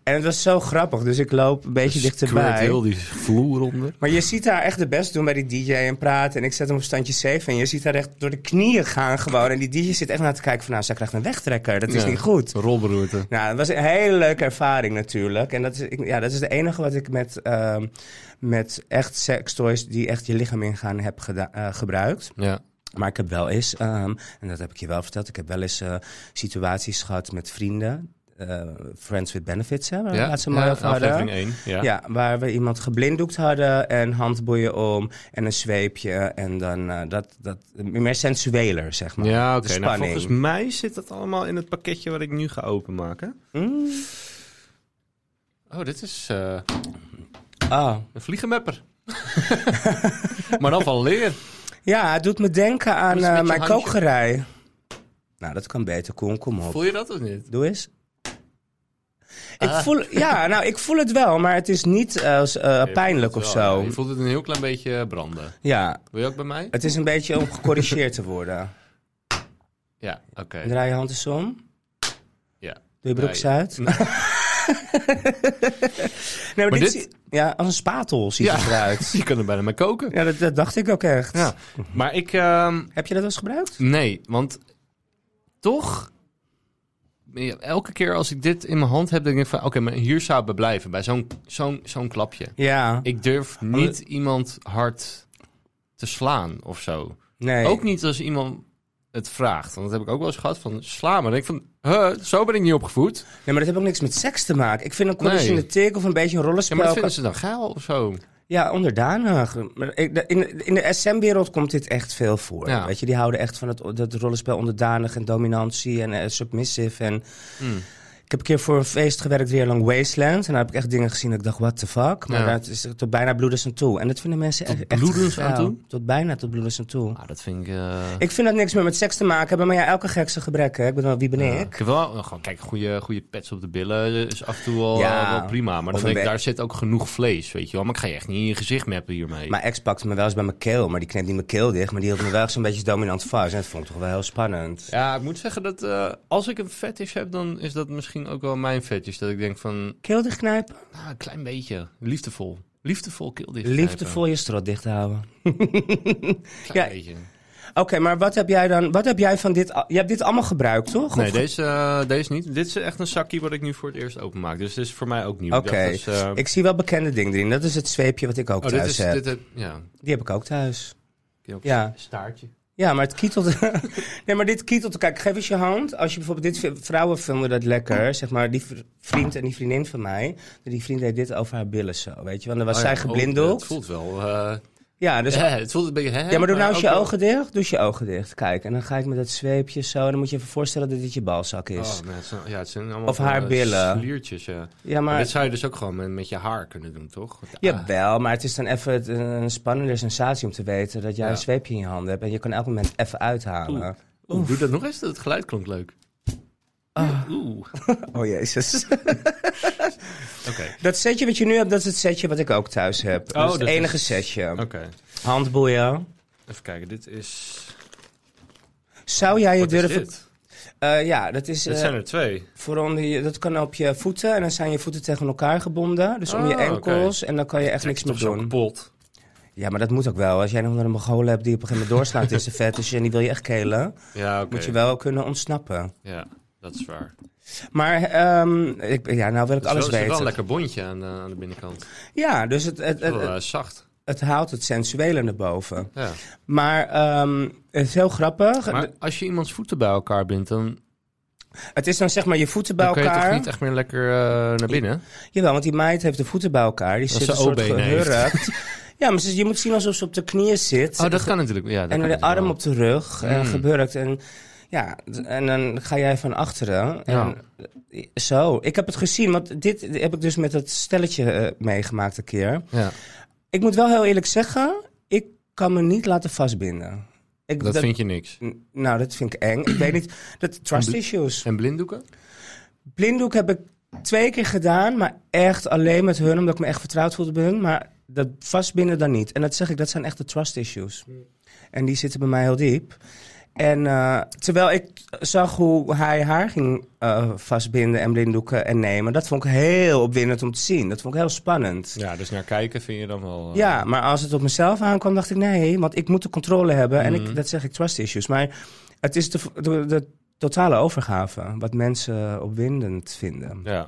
Speaker 1: En het was zo grappig, dus ik loop een beetje
Speaker 2: Squirt
Speaker 1: dichterbij.
Speaker 2: heel die vloer onder.
Speaker 1: Maar je ziet haar echt de best doen bij die DJ en praten. En ik zet hem op standje 7 en je ziet haar echt door de knieën gaan gewoon. En die DJ zit echt naar te kijken van, nou, zij krijgt een wegtrekker. Dat is
Speaker 2: Ja,
Speaker 1: niet goed.
Speaker 2: Rolberoerte.
Speaker 1: Nou, het was een hele leuke ervaring natuurlijk. En dat is, ik, ja, dat is de enige wat ik met, ehm, met echt sextoys die echt je lichaam ingaan heb geda- eh, gebruikt.
Speaker 2: Ja.
Speaker 1: Maar ik heb wel eens, ehm, en dat heb ik je wel verteld, ik heb wel eens eh, situaties gehad met vrienden. eh, friends with benefits, hè, waar we
Speaker 2: Ja,
Speaker 1: laatst
Speaker 2: ja,
Speaker 1: Oh, maar over hadden.
Speaker 2: aflevering 1. Ja.
Speaker 1: Ja, waar we iemand geblinddoekt hadden en handboeien om en een zweepje. En dan eh, dat, dat, meer sensueler, zeg maar.
Speaker 2: Ja,
Speaker 1: De
Speaker 2: oké. Nou,
Speaker 1: spanning.
Speaker 2: volgens mij zit dat allemaal in het pakketje wat ik nu ga openmaken.
Speaker 1: Mm.
Speaker 2: Oh, dit is eh,
Speaker 1: Ah.
Speaker 2: een vliegenmepper. *laughs* maar dan van leer.
Speaker 1: Ja, het doet me denken aan
Speaker 2: Doe eens met
Speaker 1: eh,
Speaker 2: je
Speaker 1: mijn
Speaker 2: handje.
Speaker 1: kookgerij. Nou, dat kan beter, Koen. Kom op.
Speaker 2: Voel je dat of niet?
Speaker 1: Doe eens. Ik
Speaker 2: Ah.
Speaker 1: voel,
Speaker 2: *laughs*
Speaker 1: ja, nou, ik voel het wel, maar het is niet eh, s- eh, pijnlijk
Speaker 2: Je
Speaker 1: of
Speaker 2: voelt het wel,
Speaker 1: zo.
Speaker 2: ja. Je voelt het een heel klein beetje eh, branden.
Speaker 1: Ja,
Speaker 2: Wil je ook bij mij?
Speaker 1: het is een beetje om gecorrigeerd te worden.
Speaker 2: *laughs* Ja, oké.
Speaker 1: Draai je hand eens om.
Speaker 2: Ja.
Speaker 1: Doe je broek eens
Speaker 2: Nee.
Speaker 1: uit.
Speaker 2: *laughs* Nee.
Speaker 1: nee, maar,
Speaker 2: Maar
Speaker 1: dit...
Speaker 2: dit-
Speaker 1: zie- Ja, als een spatel ziet
Speaker 2: Ja.
Speaker 1: het
Speaker 2: *laughs*
Speaker 1: eruit.
Speaker 2: Je kan er bijna mee koken.
Speaker 1: Ja, dat, dat dacht ik ook echt.
Speaker 2: Ja. Maar ik... ehm,
Speaker 1: Heb je dat wel eens gebruikt?
Speaker 2: nee, want toch... ja, Elke keer als ik dit in mijn hand heb, denk ik van... Oké, maar hier zou het bij blijven. Bij zo'n zo'n zo'n klapje.
Speaker 1: Ja.
Speaker 2: Ik durf niet iemand hard te slaan of zo.
Speaker 1: Nee.
Speaker 2: Ook niet als iemand het vraagt. Want dat heb ik ook wel eens gehad van sla me. Dan denk ik van, huh, zo ben ik niet opgevoed.
Speaker 1: Nee, maar dat heeft ook niks met seks te maken. Ik vind een
Speaker 2: Nee.
Speaker 1: conditionele tik of een beetje een
Speaker 2: Ja,
Speaker 1: rollenspel.
Speaker 2: maar dat
Speaker 1: kan-
Speaker 2: vinden ze dan geil of zo.
Speaker 1: Ja, onderdanig. Maar ik- de- In, in de SM-wereld komt dit echt veel voor.
Speaker 2: Ja.
Speaker 1: Weet je,
Speaker 2: Hmm.
Speaker 1: die houden echt van het, dat rollenspel onderdanig en dominantie en eh, submissive. En... Ik heb een keer voor een feest gewerkt, weer lang Wasteland. En daar heb ik echt dingen gezien dat ik dacht, what the fuck? Maar
Speaker 2: Ja.
Speaker 1: dat is tot bijna bloeders aan toe. En dat vinden mensen echt echt
Speaker 2: bloeders aan
Speaker 1: geil.
Speaker 2: toe?
Speaker 1: Tot bijna tot bloeders aan toe.
Speaker 2: Ah, dat vind ik... eh,
Speaker 1: Ik vind dat niks meer met seks te maken hebben, maar ja, elke gek zijn gebreken. Ik bedoel, wie ben
Speaker 2: Ja,
Speaker 1: ik?
Speaker 2: ik heb wel, eh, gewoon, kijk, goede, goede pets op de billen is af en toe wel,
Speaker 1: Ja.
Speaker 2: eh, wel prima. Maar
Speaker 1: Of
Speaker 2: dan
Speaker 1: een
Speaker 2: denk ik,
Speaker 1: be-
Speaker 2: daar zit ook genoeg vlees, weet je wel. Maar ik ga je echt niet in je gezicht meppen hiermee.
Speaker 1: Mijn ex pakte me wel eens bij mijn keel, maar die kneep niet mijn keel dicht. Maar die hield me wel echt zo'n beetje dominant vast. En dat vond ik toch wel heel spannend.
Speaker 2: Ja, ik moet zeggen dat eh, als ik een fetish heb, dan is dat misschien ook wel mijn fetish. Dat ik denk van,
Speaker 1: Keel dichtknijpen?
Speaker 2: nou, een klein beetje, liefdevol. Liefdevol keeldicht.
Speaker 1: Liefdevol je strot dicht houden.
Speaker 2: Ja.
Speaker 1: ja. Oké, maar wat heb jij dan? Wat heb jij van dit? al- Je hebt dit allemaal gebruikt, toch?
Speaker 2: Nee,
Speaker 1: Of-
Speaker 2: deze, eh, deze niet. Dit is echt een zakje wat ik nu voor het eerst openmaak. Dus dit is voor mij ook nieuw.
Speaker 1: Oké.
Speaker 2: Dat is, eh,
Speaker 1: Ik zie wel bekende dingen erin. Dat is het zweepje wat ik ook
Speaker 2: oh, dit
Speaker 1: thuis
Speaker 2: is,
Speaker 1: heb.
Speaker 2: dit, heb- ja.
Speaker 1: Die heb ik ook thuis.
Speaker 2: Die ook
Speaker 1: Ja.
Speaker 2: Staartje.
Speaker 1: Ja, maar het kietelt. *laughs* nee, maar dit kietelt. Kijk, geef eens je hand. Als je bijvoorbeeld dit. vi- Vrouwen vinden dat lekker. Zeg maar, die v- vriend en die vriendin van mij. Die vriend deed dit over haar billen zo. Weet je, want dan was
Speaker 2: Oh ja,
Speaker 1: zij
Speaker 2: oh,
Speaker 1: geblinddoeld.
Speaker 2: het voelt wel... eh, *laughs*
Speaker 1: ja, dus.
Speaker 2: hè, het voelt een beetje... hè,
Speaker 1: Ja, maar doe nou eens je
Speaker 2: ook wel-
Speaker 1: ogen dicht. Doe eens je ogen dicht. Kijk, en dan ga ik met dat zweepje zo. Dan moet je even voorstellen dat dit je balzak is.
Speaker 2: Oh, nee, het zijn, ja, het zijn allemaal
Speaker 1: Of
Speaker 2: van,
Speaker 1: haar
Speaker 2: eh,
Speaker 1: billen.
Speaker 2: Sliertjes, ja. Maar,
Speaker 1: ja,
Speaker 2: dit
Speaker 1: maar.
Speaker 2: zou je dus ook gewoon met, met je haar kunnen doen, toch? Want, ah,
Speaker 1: Jawel, maar het is dan even het- een spannende sensatie om te weten dat jij
Speaker 2: Ja.
Speaker 1: een zweepje in je handen hebt. En je kan elk moment even uithalen.
Speaker 2: oeh, doe dat nog eens, dat het geluid klonk leuk.
Speaker 1: Ah.
Speaker 2: Oeh.
Speaker 1: Oh jezus.
Speaker 2: Oké.
Speaker 1: *laughs* Dat setje wat je nu hebt, dat is het setje wat ik ook thuis heb. dat is het
Speaker 2: Oh, dat
Speaker 1: enige
Speaker 2: is-
Speaker 1: setje.
Speaker 2: Oké.
Speaker 1: Handboeien.
Speaker 2: Even kijken, dit is...
Speaker 1: Zou jij je
Speaker 2: Wat is
Speaker 1: durven...
Speaker 2: dit?
Speaker 1: Eh, ja, dat is
Speaker 2: Dit
Speaker 1: eh,
Speaker 2: zijn er twee.
Speaker 1: voor onder je, dat kan op je voeten en dan zijn je voeten tegen elkaar gebonden. Dus om je
Speaker 2: Oh,
Speaker 1: enkels en dan kan je echt
Speaker 2: Trek
Speaker 1: niks
Speaker 2: je
Speaker 1: meer
Speaker 2: toch zo
Speaker 1: doen.
Speaker 2: kapot.
Speaker 1: Ja, maar dat moet ook wel. Als jij nog een Mongolen hebt die op een gegeven moment doorslaat in zijn vet, dus en die wil je echt kelen,
Speaker 2: Ja, oké.
Speaker 1: moet je wel kunnen ontsnappen.
Speaker 2: Ja, dat is waar.
Speaker 1: Maar ehm, ik, ja, nou wil ik
Speaker 2: Het is wel-
Speaker 1: alles
Speaker 2: het is wel een
Speaker 1: weten.
Speaker 2: lekker bondje aan, eh, aan de binnenkant. Het
Speaker 1: Ja, dus het, het,
Speaker 2: is
Speaker 1: het,
Speaker 2: wel,
Speaker 1: het,
Speaker 2: eh, zacht.
Speaker 1: het haalt het sensuele naar boven.
Speaker 2: Ja.
Speaker 1: Maar ehm, het is heel grappig.
Speaker 2: Maar als je iemands voeten bij elkaar bindt, dan,
Speaker 1: Het is dan zeg maar je voeten bij
Speaker 2: dan kun je
Speaker 1: elkaar.
Speaker 2: toch niet echt meer lekker eh, naar binnen?
Speaker 1: Jawel, want die meid heeft de voeten bij elkaar. Die
Speaker 2: Als
Speaker 1: zit
Speaker 2: ze
Speaker 1: een soort
Speaker 2: O-benen heeft. *laughs*
Speaker 1: gehurkt. ja, maar ze, je moet zien alsof ze op de knieën zit.
Speaker 2: Oh, dat kan natuurlijk. Ja, dat
Speaker 1: en
Speaker 2: kan
Speaker 1: de
Speaker 2: natuurlijk
Speaker 1: arm
Speaker 2: wel.
Speaker 1: op de rug en
Speaker 2: Mm.
Speaker 1: gehurkt. En, ja, d- en dan ga jij van achteren. En,
Speaker 2: Ja.
Speaker 1: Zo, ik heb het gezien. Want dit heb ik dus met dat stelletje eh, meegemaakt een keer.
Speaker 2: Ja.
Speaker 1: Ik moet wel heel eerlijk zeggen, ik kan me niet laten vastbinden. Ik,
Speaker 2: Dat, vind je niks.
Speaker 1: N- Nou, dat vind ik eng. Ik weet niet. Dat trust issues.
Speaker 2: En blinddoeken?
Speaker 1: Blinddoek heb ik twee keer gedaan, maar echt alleen met hun, omdat ik me echt vertrouwd voelde bij hun. Maar dat vastbinden dan niet. En dat zeg ik, dat zijn echt de trust issues. En die zitten bij mij heel diep. En eh, terwijl ik zag hoe hij haar ging eh, vastbinden en blinddoeken en nemen, dat vond ik heel opwindend om te zien. Dat vond ik heel spannend.
Speaker 2: Ja, dus naar kijken vind je dan wel... eh,
Speaker 1: Ja, maar als het op mezelf aankwam, dacht ik nee, want ik moet de controle hebben. En
Speaker 2: Mhm.
Speaker 1: ik, dat zeg ik trust issues. Maar het is de, de, de totale overgave, wat mensen opwindend vinden.
Speaker 2: Ja,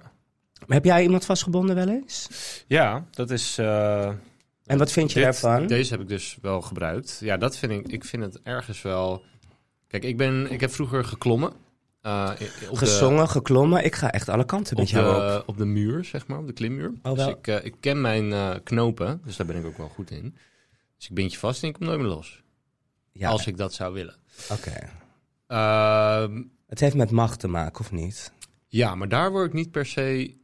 Speaker 1: Maar heb jij iemand vastgebonden wel eens?
Speaker 2: ja dat is... eh,
Speaker 1: En wat vind je
Speaker 2: dit-
Speaker 1: daarvan?
Speaker 2: Deze heb ik dus wel gebruikt. Ja, dat vind ik... Ik vind het ergens wel... Kijk, ik, ben, ik heb vroeger geklommen. eh, i- i- op de-
Speaker 1: Gezongen, geklommen. Ik ga echt alle kanten
Speaker 2: op
Speaker 1: met jou op.
Speaker 2: de, op de muur, zeg maar, op de klimmuur.
Speaker 1: Oh,
Speaker 2: dus
Speaker 1: wel.
Speaker 2: ik, eh, ik ken mijn eh, knopen, dus daar ben ik ook wel goed in. Dus ik bind je vast en ik kom nooit meer los.
Speaker 1: Ja,
Speaker 2: Als ik dat zou willen.
Speaker 1: oké.
Speaker 2: Ehm,
Speaker 1: Het heeft met macht te maken, of niet?
Speaker 2: ja, maar daar word ik niet per se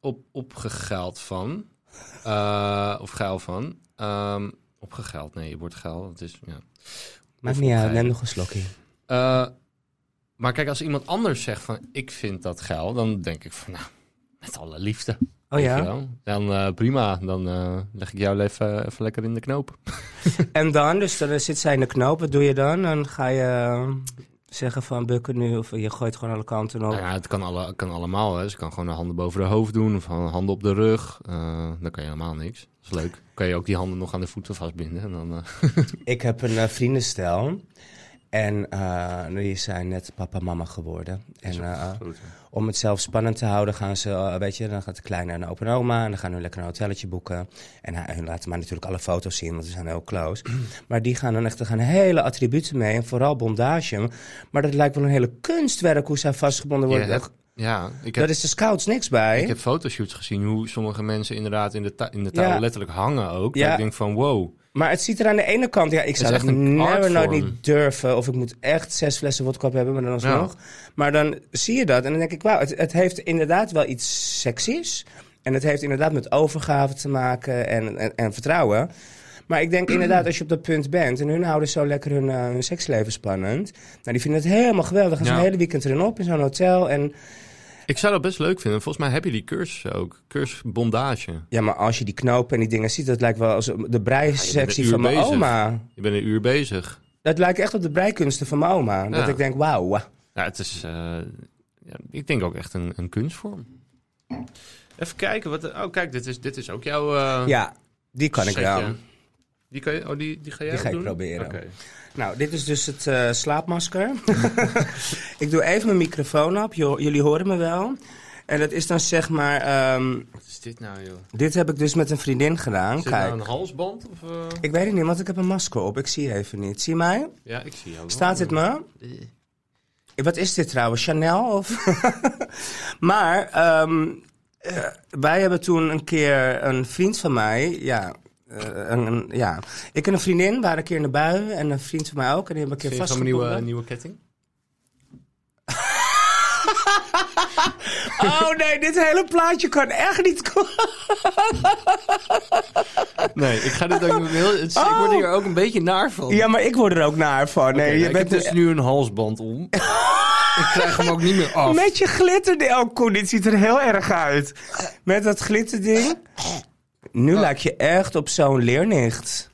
Speaker 2: op, opgegaald van. Eh, of geil van. Ehm opgegaald, nee, je wordt geil. Het is, ja.
Speaker 1: Maakt
Speaker 2: Of
Speaker 1: niet uit,
Speaker 2: opgeven.
Speaker 1: neem nog een slokje. Oh
Speaker 2: Eh, maar kijk, als iemand anders zegt van ik vind dat geil, dan denk ik van nou, met alle liefde.
Speaker 1: Oh
Speaker 2: weet je
Speaker 1: ja?
Speaker 2: wel. Dan eh, prima, dan eh, leg ik jou even, even lekker in de knoop.
Speaker 1: Oh. En dan, dus dan zit zij in de knoop. Wat doe je dan? Dan ga je eh, zeggen van bukken nu. Of je gooit gewoon alle kanten op.
Speaker 2: Nou ja, het kan, alle, kan allemaal. Hè. Ze kan gewoon de handen boven de hoofd doen of handen op de rug. Eh, dan kan je helemaal niks. Dat is leuk. Kan je ook die handen nog aan de voeten vastbinden. En dan, eh,
Speaker 1: Ik heb een eh, vriendenstel. En eh, die zijn net papa en mama geworden. En eh, om het zelf spannend te houden gaan ze, eh, weet je, dan gaat de kleine naar open oma. En dan gaan hun lekker een hotelletje boeken. En hij- hun laten mij natuurlijk alle foto's zien, want we zijn heel
Speaker 2: *clears throat*
Speaker 1: close. Maar die gaan dan echt, er gaan hele attributen mee. En vooral bondage. Maar dat lijkt wel een hele kunstwerk hoe zij vastgebonden worden.
Speaker 2: Je hebt Ja, ik
Speaker 1: Daar
Speaker 2: heb,
Speaker 1: is de scouts niks bij.
Speaker 2: ik heb fotoshoots gezien hoe sommige mensen inderdaad in de, ta- in de
Speaker 1: Ja.
Speaker 2: touw letterlijk hangen ook.
Speaker 1: Ja.
Speaker 2: Dat ik denk van wow.
Speaker 1: Maar het ziet er aan de ene kant... Ja, ik zou
Speaker 2: is
Speaker 1: dat
Speaker 2: echt een
Speaker 1: never nooit
Speaker 2: artvorm.
Speaker 1: niet durven. Of ik moet echt zes flessen vodka hebben, maar dan alsnog. Maar dan zie je dat en dan denk ik... Wauw, het, het heeft inderdaad wel iets seksies. En het heeft inderdaad met overgave te maken en, en, en vertrouwen. Maar ik denk inderdaad, als je op dat punt bent... en hun houden zo lekker hun, eh, hun seksleven spannend... nou, die vinden het helemaal geweldig. Gaan ze
Speaker 2: Ja.
Speaker 1: een hele weekend erin op in zo'n hotel en...
Speaker 2: Ik zou dat best leuk vinden. Volgens mij heb je die cursus ook. Cursus bondage.
Speaker 1: Ja, maar als je die knopen en die dingen ziet, dat lijkt wel als de breisectie
Speaker 2: uur
Speaker 1: van mijn
Speaker 2: bezig.
Speaker 1: oma.
Speaker 2: Je bent een uur bezig.
Speaker 1: Dat lijkt echt op de breikunsten van mijn oma. Dat
Speaker 2: Ja.
Speaker 1: ik denk, wauw.
Speaker 2: Ja, het is, eh, ja, ik denk ook echt een, een kunstvorm. Even kijken. Wat, oh, kijk, dit is, dit is ook jouw... eh,
Speaker 1: Ja, die kan ik
Speaker 2: setje.
Speaker 1: wel.
Speaker 2: Die, kan je, oh, die, die ga jij
Speaker 1: Die
Speaker 2: ook
Speaker 1: ga ik
Speaker 2: doen?
Speaker 1: proberen.
Speaker 2: Oké.
Speaker 1: Nou, dit is dus het eh, slaapmasker. *laughs* ik doe even mijn microfoon op. Jo- jullie horen me wel. En dat is dan zeg maar... ehm,
Speaker 2: Wat is dit nou, joh?
Speaker 1: dit heb ik dus met een vriendin gedaan.
Speaker 2: Is dit
Speaker 1: Kijk.
Speaker 2: nou een halsband? Of, eh?
Speaker 1: Ik weet het niet, want ik heb een masker op. Ik zie even niet. Zie je mij?
Speaker 2: Ja, ik zie jou wel.
Speaker 1: Staat dit me?
Speaker 2: Eh.
Speaker 1: Wat is dit trouwens? Chanel? Of? *laughs* maar ehm, eh, wij hebben toen een keer een vriend van mij. Ja, eh, een, een- ja. Ik en een vriendin waren een keer in de bui. En een vriend van mij ook. En die hebben een
Speaker 2: Vind
Speaker 1: keer
Speaker 2: je van mijn nieuwe,
Speaker 1: vastgebonden.
Speaker 2: nieuwe ketting? *laughs* eh,
Speaker 1: Oh nee, dit hele plaatje kan echt niet komen.
Speaker 2: Nee, ik ga dit ook heel, het, Ik word hier ook een beetje naar van.
Speaker 1: Oh! Ja, maar ik word er ook naar van. Nee,
Speaker 2: Oké,
Speaker 1: je
Speaker 2: nou,
Speaker 1: bent
Speaker 2: ik heb dus nu een
Speaker 1: *laughs*
Speaker 2: halsband om. ik krijg hem ook niet meer af.
Speaker 1: Met je glitterding. Oh, Koen, dit ziet er heel erg uit. Met dat glitterding. Nu lijk je echt op zo'n leernicht.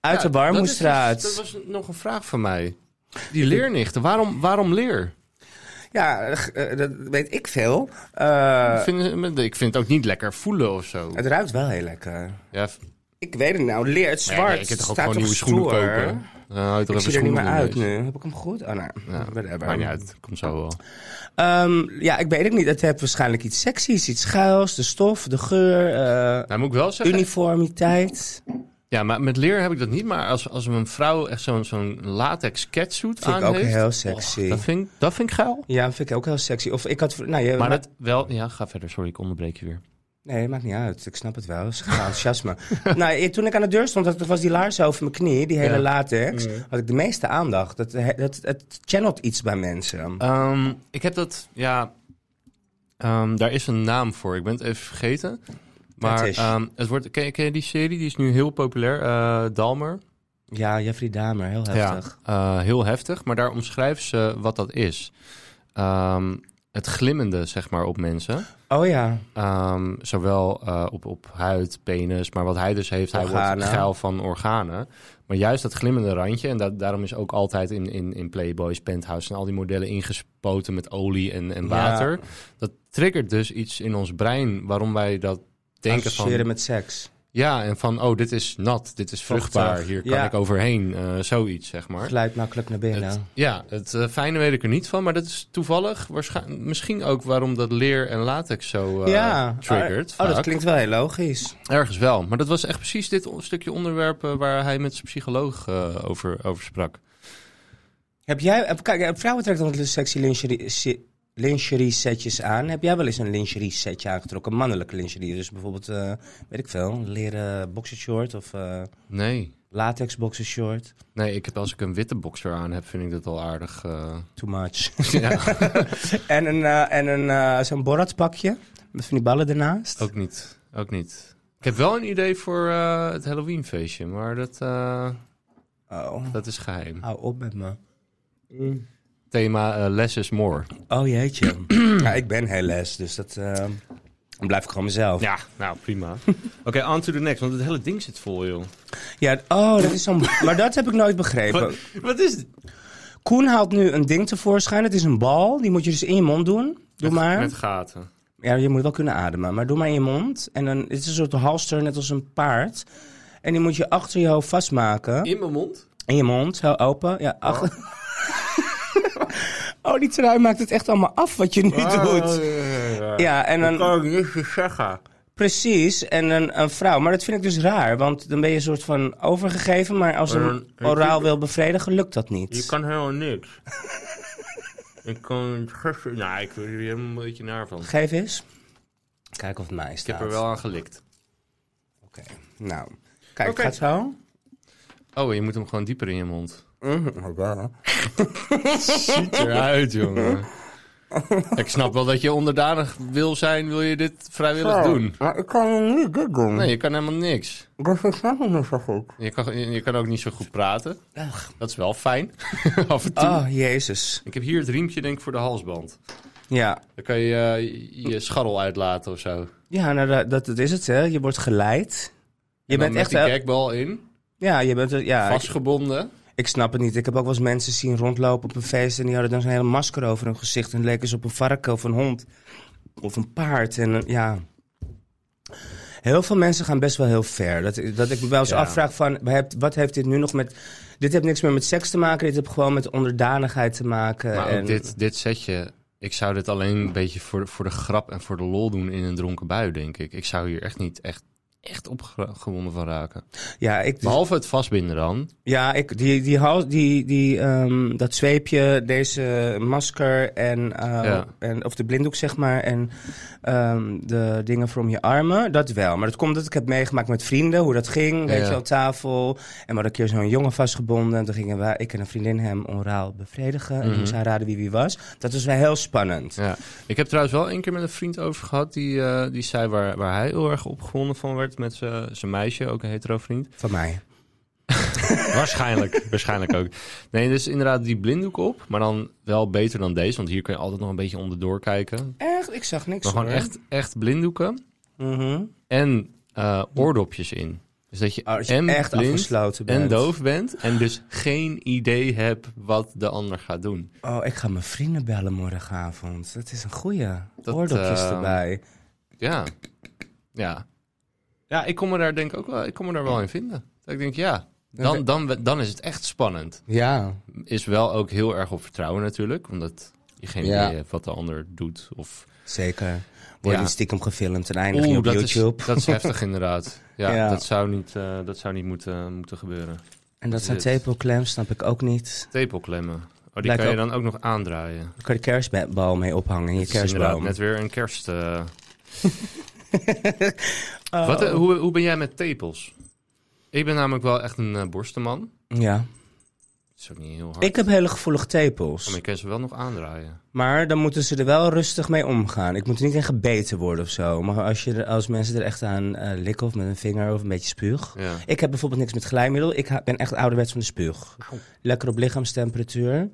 Speaker 1: Uit
Speaker 2: Ja,
Speaker 1: de Barmoestraat.
Speaker 2: Dat, is dus- dat was nog een vraag van mij. Die leernichten, waarom, waarom leer?
Speaker 1: Ja, eh, dat weet ik veel. Eh,
Speaker 2: Ik vind, ik vind het ook niet lekker voelen of zo.
Speaker 1: het ruikt wel heel lekker.
Speaker 2: Ja, f-
Speaker 1: Ik weet het nou, leer het
Speaker 2: nee,
Speaker 1: zwart.
Speaker 2: nee, ik heb toch ook
Speaker 1: staat
Speaker 2: gewoon nieuwe
Speaker 1: toch
Speaker 2: schoenen
Speaker 1: stoer?
Speaker 2: kopen. Dan hou je toch
Speaker 1: Ik
Speaker 2: even
Speaker 1: zie er niet
Speaker 2: schoenen
Speaker 1: meer
Speaker 2: om,
Speaker 1: uit
Speaker 2: nee.
Speaker 1: nu. Heb ik hem goed? Oh, nou, whatever.
Speaker 2: Maakt niet uit, het komt zo wel.
Speaker 1: Ehm, ja, ik weet het niet. Het heeft waarschijnlijk iets seksies, iets schuils. De stof, de geur, eh,
Speaker 2: Nou, moet ik wel zeggen...
Speaker 1: uniformiteit.
Speaker 2: Ja, maar met leer heb ik dat niet. Maar als, als een vrouw echt zo'n zo'n latex catsuit
Speaker 1: Vind
Speaker 2: aan
Speaker 1: ik ook
Speaker 2: heeft... oh,
Speaker 1: heel sexy.
Speaker 2: dat, vind, ik- dat vind ik geil.
Speaker 1: Ja, vind ik ook heel sexy. Of ik had... Nou, je,
Speaker 2: Maar dat wel... Ja, ga verder. Sorry, ik onderbreek je weer.
Speaker 1: Nee, maakt niet uit. Ik snap het wel. Het is gewoon enthousiasme. *laughs* nou, eh, toen ik aan de deur stond, dat was die laars over mijn knie, die hele
Speaker 2: Ja. Mm.
Speaker 1: latex, had ik de meeste aandacht. Dat, he- dat, het channelt iets bij mensen.
Speaker 2: Ehm, ik heb dat... Ja... ehm, daar is een naam voor. Ik ben het even vergeten. Maar
Speaker 1: is-
Speaker 2: ehm, het wordt... Ken, je- ken je die serie? Die is nu heel populair. eh, Dalmer.
Speaker 1: Ja, Jeffrey Dahmer, heel heftig.
Speaker 2: Ja, eh, heel heftig. Maar daar omschrijven ze wat dat is. Ehm, het glimmende, zeg maar, op mensen.
Speaker 1: Oh ja.
Speaker 2: Ehm, zowel eh, op, op huid, penis, maar wat hij dus heeft, hij
Speaker 1: Organen.
Speaker 2: wordt geil van organen. Maar juist dat glimmende randje, en da- daarom is ook altijd in, in, in Playboys, Penthouse en al die modellen ingespoten met olie en, en
Speaker 1: Ja.
Speaker 2: water. Dat triggert dus iets in ons brein waarom wij dat denken
Speaker 1: Associëren
Speaker 2: van...
Speaker 1: met seks.
Speaker 2: Ja, en van, oh, dit is nat, dit is vruchtbaar,
Speaker 1: Vochtig.
Speaker 2: hier kan
Speaker 1: Ja.
Speaker 2: ik overheen, eh, zoiets, zeg maar.
Speaker 1: Glijdt makkelijk naar binnen.
Speaker 2: Het- ja, het eh, fijne weet ik er niet van, maar dat is toevallig waarschijnlijk misschien ook waarom dat leer en latex zo eh
Speaker 1: ja.
Speaker 2: triggert.
Speaker 1: Oh, dat
Speaker 2: vaak.
Speaker 1: klinkt wel heel logisch.
Speaker 2: Ergens wel, maar dat was echt precies dit on- stukje onderwerp eh, waar hij met zijn psycholoog eh, over, over sprak.
Speaker 1: Heb jij... eh, Kijk, eh, vrouwen trekken altijd sexy lingerie... si- Lingerie setjes aan. Heb jij wel eens een lingerie setje aangetrokken? Mannelijke lingerie. Dus bijvoorbeeld, eh, weet ik veel, een leren boxershort of eh,
Speaker 2: Nee.
Speaker 1: latex boxershort.
Speaker 2: Nee, ik heb, als ik een witte boxer aan heb, vind ik dat al aardig. eh,
Speaker 1: Too much.
Speaker 2: ja,
Speaker 1: *laughs* en een, eh, en een, eh, zo'n Borat pakje. Met van die ballen ernaast.
Speaker 2: ook niet. Ook niet. Ik heb wel een idee voor eh, het Halloween feestje, maar dat, eh,
Speaker 1: Oh,
Speaker 2: dat is geheim.
Speaker 1: hou op met me.
Speaker 2: Thema eh, less is more.
Speaker 1: Oh jeetje. *clears throat* ja, ik ben heel les, dus dat eh, dan blijf ik gewoon mezelf. Ja,
Speaker 2: Ja, nou prima. Oké, on to the next, want het hele ding zit vol, joh.
Speaker 1: oh, dat is zo'n... maar dat heb ik nooit begrepen.
Speaker 2: Wat, wat is dit?
Speaker 1: Koen haalt nu een ding tevoorschijn. Het is een bal. Die moet je dus in je mond doen. Doe maar.
Speaker 2: Met gaten.
Speaker 1: Ja, je moet wel kunnen ademen. Maar doe maar in je mond. En dan het is een soort halster, net als een paard. En die moet je achter je hoofd vastmaken.
Speaker 2: In mijn mond?
Speaker 1: In je mond, zo open. Ja, achter. *laughs* Oh, die trui maakt het echt allemaal af wat je nu
Speaker 2: Oh. Ah,
Speaker 1: doet. Ja, en dan
Speaker 2: ik niks zeggen.
Speaker 1: precies. En een, een vrouw. Maar dat vind ik dus raar, want dan ben je een soort van overgegeven. Maar als
Speaker 2: Maar eh,
Speaker 1: een
Speaker 2: dan-
Speaker 1: oraal wil bevredigen, lukt dat niet.
Speaker 2: kan helemaal niks. *laughs* Ik kan... Nou, ik word hier helemaal een beetje naar van.
Speaker 1: Geef eens. Kijk of het mij
Speaker 2: Ik
Speaker 1: staat.
Speaker 2: heb er wel aan gelikt.
Speaker 1: Oké, nou. Kijk,
Speaker 2: Oké.
Speaker 1: gaat zo.
Speaker 2: Oh, je moet hem gewoon dieper in je mond.
Speaker 1: Mhm, oh god.
Speaker 2: Ziet eruit, jongen. *laughs* Ik snap wel dat je onderdanig wil zijn, wil je dit vrijwillig doen.
Speaker 1: Maar ik kan niet dit doen.
Speaker 2: Nee, je kan helemaal niks.
Speaker 1: Dus ik snap het niet zo goed.
Speaker 2: Je kan, je je kan ook niet zo goed praten.
Speaker 1: Ach.
Speaker 2: Dat is wel fijn. *laughs* Af en toe.
Speaker 1: Oh, jezus.
Speaker 2: Ik heb hier het riempje, denk ik, voor de halsband.
Speaker 1: Ja.
Speaker 2: Dan kan je eh, je scharrel uitlaten of zo.
Speaker 1: Ja, nou, dat, dat, dat is het, hè. Je wordt geleid. Je
Speaker 2: En dan
Speaker 1: bent
Speaker 2: met
Speaker 1: echt...
Speaker 2: die
Speaker 1: wel-
Speaker 2: gagbal in,
Speaker 1: Ja, je bent... eh, Ja, ik,
Speaker 2: vastgebonden.
Speaker 1: ik snap het niet. Ik heb ook wel eens mensen zien rondlopen op een feest... en die hadden dan zo'n hele masker over hun gezicht... en leken ze op een varken of een hond. Of een paard. En eh, ja... Heel veel mensen gaan best wel heel ver. Dat, dat ik me wel eens
Speaker 2: Ja.
Speaker 1: afvraag van... hebt- Wat heeft dit nu nog met... Dit heeft niks meer met seks te maken. Dit heeft gewoon met onderdanigheid te maken.
Speaker 2: Maar
Speaker 1: en,
Speaker 2: ook dit, dit setje, ik zou dit alleen een beetje voor, voor de grap en voor de lol doen in een dronken bui, denk ik. Ik zou hier echt niet echt, echt opgewonden van raken.
Speaker 1: Ja, ik, dus-
Speaker 2: Behalve het vastbinden dan.
Speaker 1: Ja, ik, die, die, hal- die, die, ehm, dat zweepje, deze masker en, eh,
Speaker 2: Ja.
Speaker 1: en, of de blinddoek zeg maar en ehm, de dingen voor om je armen, dat wel. Maar dat komt dat ik heb meegemaakt met vrienden, hoe dat ging, weet
Speaker 2: Ja.
Speaker 1: je, wel, tafel. En we hadden een keer zo'n jongen vastgebonden en toen gingen wij, ik en een vriendin hem oraal bevredigen. En toen
Speaker 2: Mhm.
Speaker 1: moest hij raden wie wie was. Dat was wel heel spannend.
Speaker 2: Ja. Ik heb trouwens wel één keer met een vriend over gehad. Die, eh, die zei waar, waar hij heel erg opgewonden van werd met z'n- zijn meisje, ook een hetero vriend.
Speaker 1: Van mij.
Speaker 2: waarschijnlijk, *laughs* waarschijnlijk ook. Nee, dus inderdaad die blinddoek op. Maar dan wel beter dan deze, want hier kun je altijd nog een beetje onderdoor kijken.
Speaker 1: Echt? Ik zag niks
Speaker 2: Maar gewoon
Speaker 1: hoor.
Speaker 2: echt, echt blinddoeken
Speaker 1: Mhm.
Speaker 2: en eh, oordopjes in. Dus dat je,
Speaker 1: Als Oh, je
Speaker 2: en
Speaker 1: echt
Speaker 2: blind
Speaker 1: afgesloten bent.
Speaker 2: en doof bent en dus geen idee hebt wat de ander gaat doen.
Speaker 1: Oh, ik ga mijn vrienden bellen morgenavond. Dat is een goeie.
Speaker 2: Dat,
Speaker 1: Oordopjes
Speaker 2: eh,
Speaker 1: erbij.
Speaker 2: Ja. Ja. Ja, ik kon me daar denk ik ook wel, ik kon me daar wel in vinden. Dat ik denk, ja, dan, dan, dan is het echt spannend.
Speaker 1: Ja.
Speaker 2: Is wel ook heel erg op vertrouwen natuurlijk, omdat je geen
Speaker 1: Ja.
Speaker 2: idee hebt wat de ander doet. Of...
Speaker 1: Zeker. Worden
Speaker 2: Ja.
Speaker 1: die stiekem gefilmd en eindig je op
Speaker 2: dat
Speaker 1: YouTube.
Speaker 2: is, dat is heftig inderdaad. Ja,
Speaker 1: Ja.
Speaker 2: dat zou niet, eh, dat zou niet moeten, moeten gebeuren.
Speaker 1: En dat zijn
Speaker 2: Dit.
Speaker 1: tepelclams, snap ik ook niet.
Speaker 2: Tepelklemmen. Oh, die
Speaker 1: Lijkt
Speaker 2: kan je
Speaker 1: ook-
Speaker 2: dan ook nog aandraaien.
Speaker 1: Daar kan je de kerstbal mee ophangen in je
Speaker 2: Het is inderdaad
Speaker 1: kerstboom.
Speaker 2: net weer een kerst... eh.
Speaker 1: *laughs* Oh.
Speaker 2: Wat, eh, hoe, hoe ben jij met tepels? Ik ben namelijk wel echt een eh, borstenman.
Speaker 1: Ja.
Speaker 2: Dat is ook niet heel hard.
Speaker 1: Ik heb hele gevoelige
Speaker 2: Maar
Speaker 1: tepels.
Speaker 2: je kan ze wel nog aandraaien.
Speaker 1: Maar dan moeten ze er wel rustig mee omgaan. Ik moet er niet in gebeten worden of zo. Maar als, je er- als mensen er echt aan eh, likken of met een vinger of een beetje spuug.
Speaker 2: Ja.
Speaker 1: Ik heb bijvoorbeeld niks met glijmiddel. Ik ha- ben echt ouderwets van de spuug.
Speaker 2: Auw.
Speaker 1: Lekker op lichaamstemperatuur.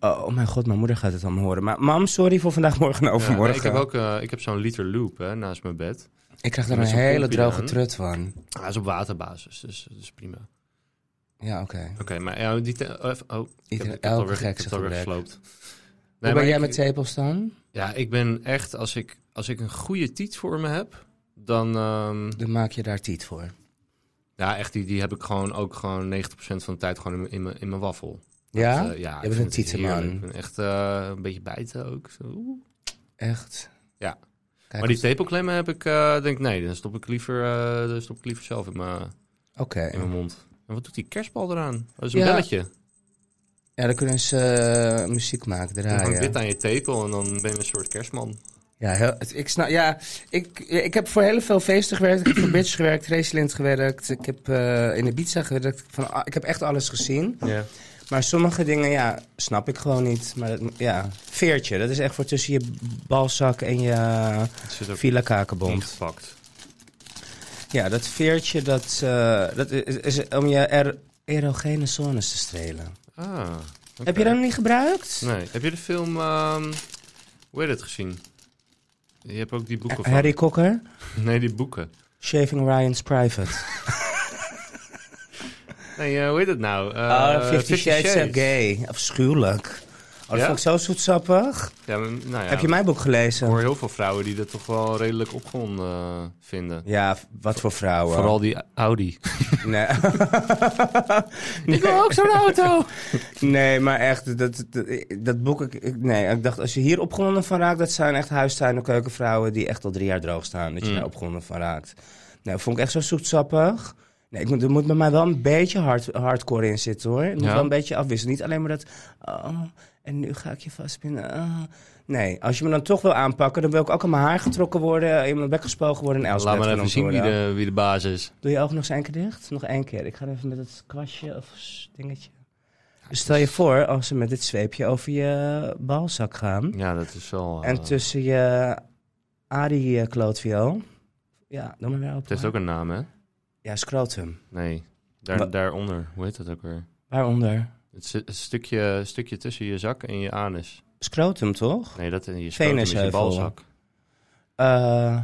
Speaker 1: Oh oh mijn god, mijn moeder gaat het allemaal horen. Maar mam, sorry voor vandaag, morgen en
Speaker 2: Ja, nee,
Speaker 1: overmorgen.
Speaker 2: ik heb ook eh, ik heb zo'n liter loop hè, naast mijn bed.
Speaker 1: Ik krijg daar
Speaker 2: Met
Speaker 1: een
Speaker 2: zo'n
Speaker 1: hele
Speaker 2: pompje
Speaker 1: droge
Speaker 2: eraan.
Speaker 1: trut van.
Speaker 2: Hij is op waterbasis, dus dat is prima. Oké,
Speaker 1: Ja, oké.
Speaker 2: maar ja, die... te- oh, even- oh, ik heb,
Speaker 1: Iedere
Speaker 2: ik heb het
Speaker 1: elke
Speaker 2: alweer, ik heb
Speaker 1: gekse
Speaker 2: het alweer
Speaker 1: gebrek.
Speaker 2: gesloopt.
Speaker 1: Hoe
Speaker 2: Nee,
Speaker 1: ben
Speaker 2: maar
Speaker 1: jij
Speaker 2: ik-
Speaker 1: met tepels dan?
Speaker 2: Ja, ik ben echt... Als ik, als ik een goede tiet voor me heb, dan... ehm,
Speaker 1: Dan maak je daar tiet voor.
Speaker 2: ja, echt, die, die heb ik gewoon ook gewoon 90% van de tijd gewoon in mijn- in mijn- in mijn waffel.
Speaker 1: Ja?
Speaker 2: Dus, eh, ja,
Speaker 1: bent
Speaker 2: ik vind
Speaker 1: een
Speaker 2: het heerlijk.
Speaker 1: tietenman.
Speaker 2: Ik ben echt eh, een beetje bijten ook. Zo. oeh.
Speaker 1: Echt?
Speaker 2: Ja.
Speaker 1: Kijk,
Speaker 2: Maar die tepelklemmen heb ik, eh, denk nee, dan stop ik liever, eh, dan stop ik liever zelf in mijn
Speaker 1: Oké.
Speaker 2: in mijn mond. En wat doet die kerstbal eraan? Dat is een
Speaker 1: Ja,
Speaker 2: belletje.
Speaker 1: Ja, dan kunnen ze eh, muziek maken,
Speaker 2: Dan
Speaker 1: draaien.
Speaker 2: hangt dit aan je tepel en dan ben je een soort kerstman.
Speaker 1: Ja, heel- het- ik, snap, ja ik, ik heb voor heel veel feesten gewerkt. Ik heb voor Bitch gewerkt, Raceland gewerkt. Ik heb eh, in de pizza gewerkt. Van, a- ik heb echt alles gezien.
Speaker 2: Ja.
Speaker 1: Maar sommige dingen, ja, snap ik gewoon niet. Maar dat- ja, veertje, dat is echt voor tussen je balzak en je eh,
Speaker 2: Het zit ook
Speaker 1: villa kakenbond.
Speaker 2: ingepakt.
Speaker 1: Ja, dat veertje, dat, eh, dat is, is om je er erogene zones te strelen.
Speaker 2: Ah. oké.
Speaker 1: Heb je dat nog niet gebruikt?
Speaker 2: Nee. Heb je de film, ehm, hoe heet het gezien? Je hebt ook die boeken van.
Speaker 1: Harry Cocker,
Speaker 2: Nee, die boeken.
Speaker 1: Shaving Ryan's Private.
Speaker 2: Nee, eh, hoe heet het nou? Eh,
Speaker 1: Ah, Fifty
Speaker 2: Fifty
Speaker 1: Shades of Gay. Afschuwelijk. Oh, dat
Speaker 2: Ja?
Speaker 1: vond ik zo zoetsappig.
Speaker 2: Ja, maar, nou ja,
Speaker 1: Heb je mijn boek
Speaker 2: Ik
Speaker 1: gelezen?
Speaker 2: hoor heel veel vrouwen die dat toch wel redelijk opgewonden eh, vinden.
Speaker 1: Ja, f- wat voor vrouwen.
Speaker 2: Vooral die Audi. *laughs*
Speaker 1: Nee,
Speaker 2: Ik wil ook zo'n auto.
Speaker 1: nee maar echt, dat, dat, dat boek... Ik, ik- nee, ik dacht, als je hier opgewonden van raakt... dat zijn echt huistuin- en keukenvrouwen... die echt al drie jaar droog staan. Dat je
Speaker 2: Mm.
Speaker 1: daar opgewonden van raakt. Nee, dat vond ik echt zo zoetsappig. Nee, ik moet, er moet bij mij wel een beetje hard, hardcore in zitten, hoor. Het moet
Speaker 2: Ja?
Speaker 1: wel een beetje afwisselen. Niet alleen maar dat... oh, En nu ga ik je vastbinden. Ah. Nee, als je me dan toch wil aanpakken, dan wil ik ook aan mijn haar getrokken worden, in mijn bek gespogen worden en Elspeth
Speaker 2: Laat maar even
Speaker 1: genoemd
Speaker 2: zien wie
Speaker 1: worden.
Speaker 2: de, wie de baas is.
Speaker 1: Doe je ogen nog eens één keer dicht? Nog één keer. Ik ga even met het kwastje of s- dingetje. Dus stel je voor als ze met dit zweepje over je balzak gaan.
Speaker 2: Ja, dat is wel... eh,
Speaker 1: En tussen je Ari-klootviool. Ja, dan maar weer open.
Speaker 2: het heeft ook een naam, hè?
Speaker 1: Ja, scrotum.
Speaker 2: Nee, daar,
Speaker 1: Wat?
Speaker 2: daaronder. Hoe heet dat ook weer?
Speaker 1: Waaronder?
Speaker 2: Het, s- het stukje, het stukje tussen je zak en je anus.
Speaker 1: Scrotum, toch?
Speaker 2: Nee, dat in je scrotum is je
Speaker 1: Venusheuvel.
Speaker 2: balzak.
Speaker 1: Eh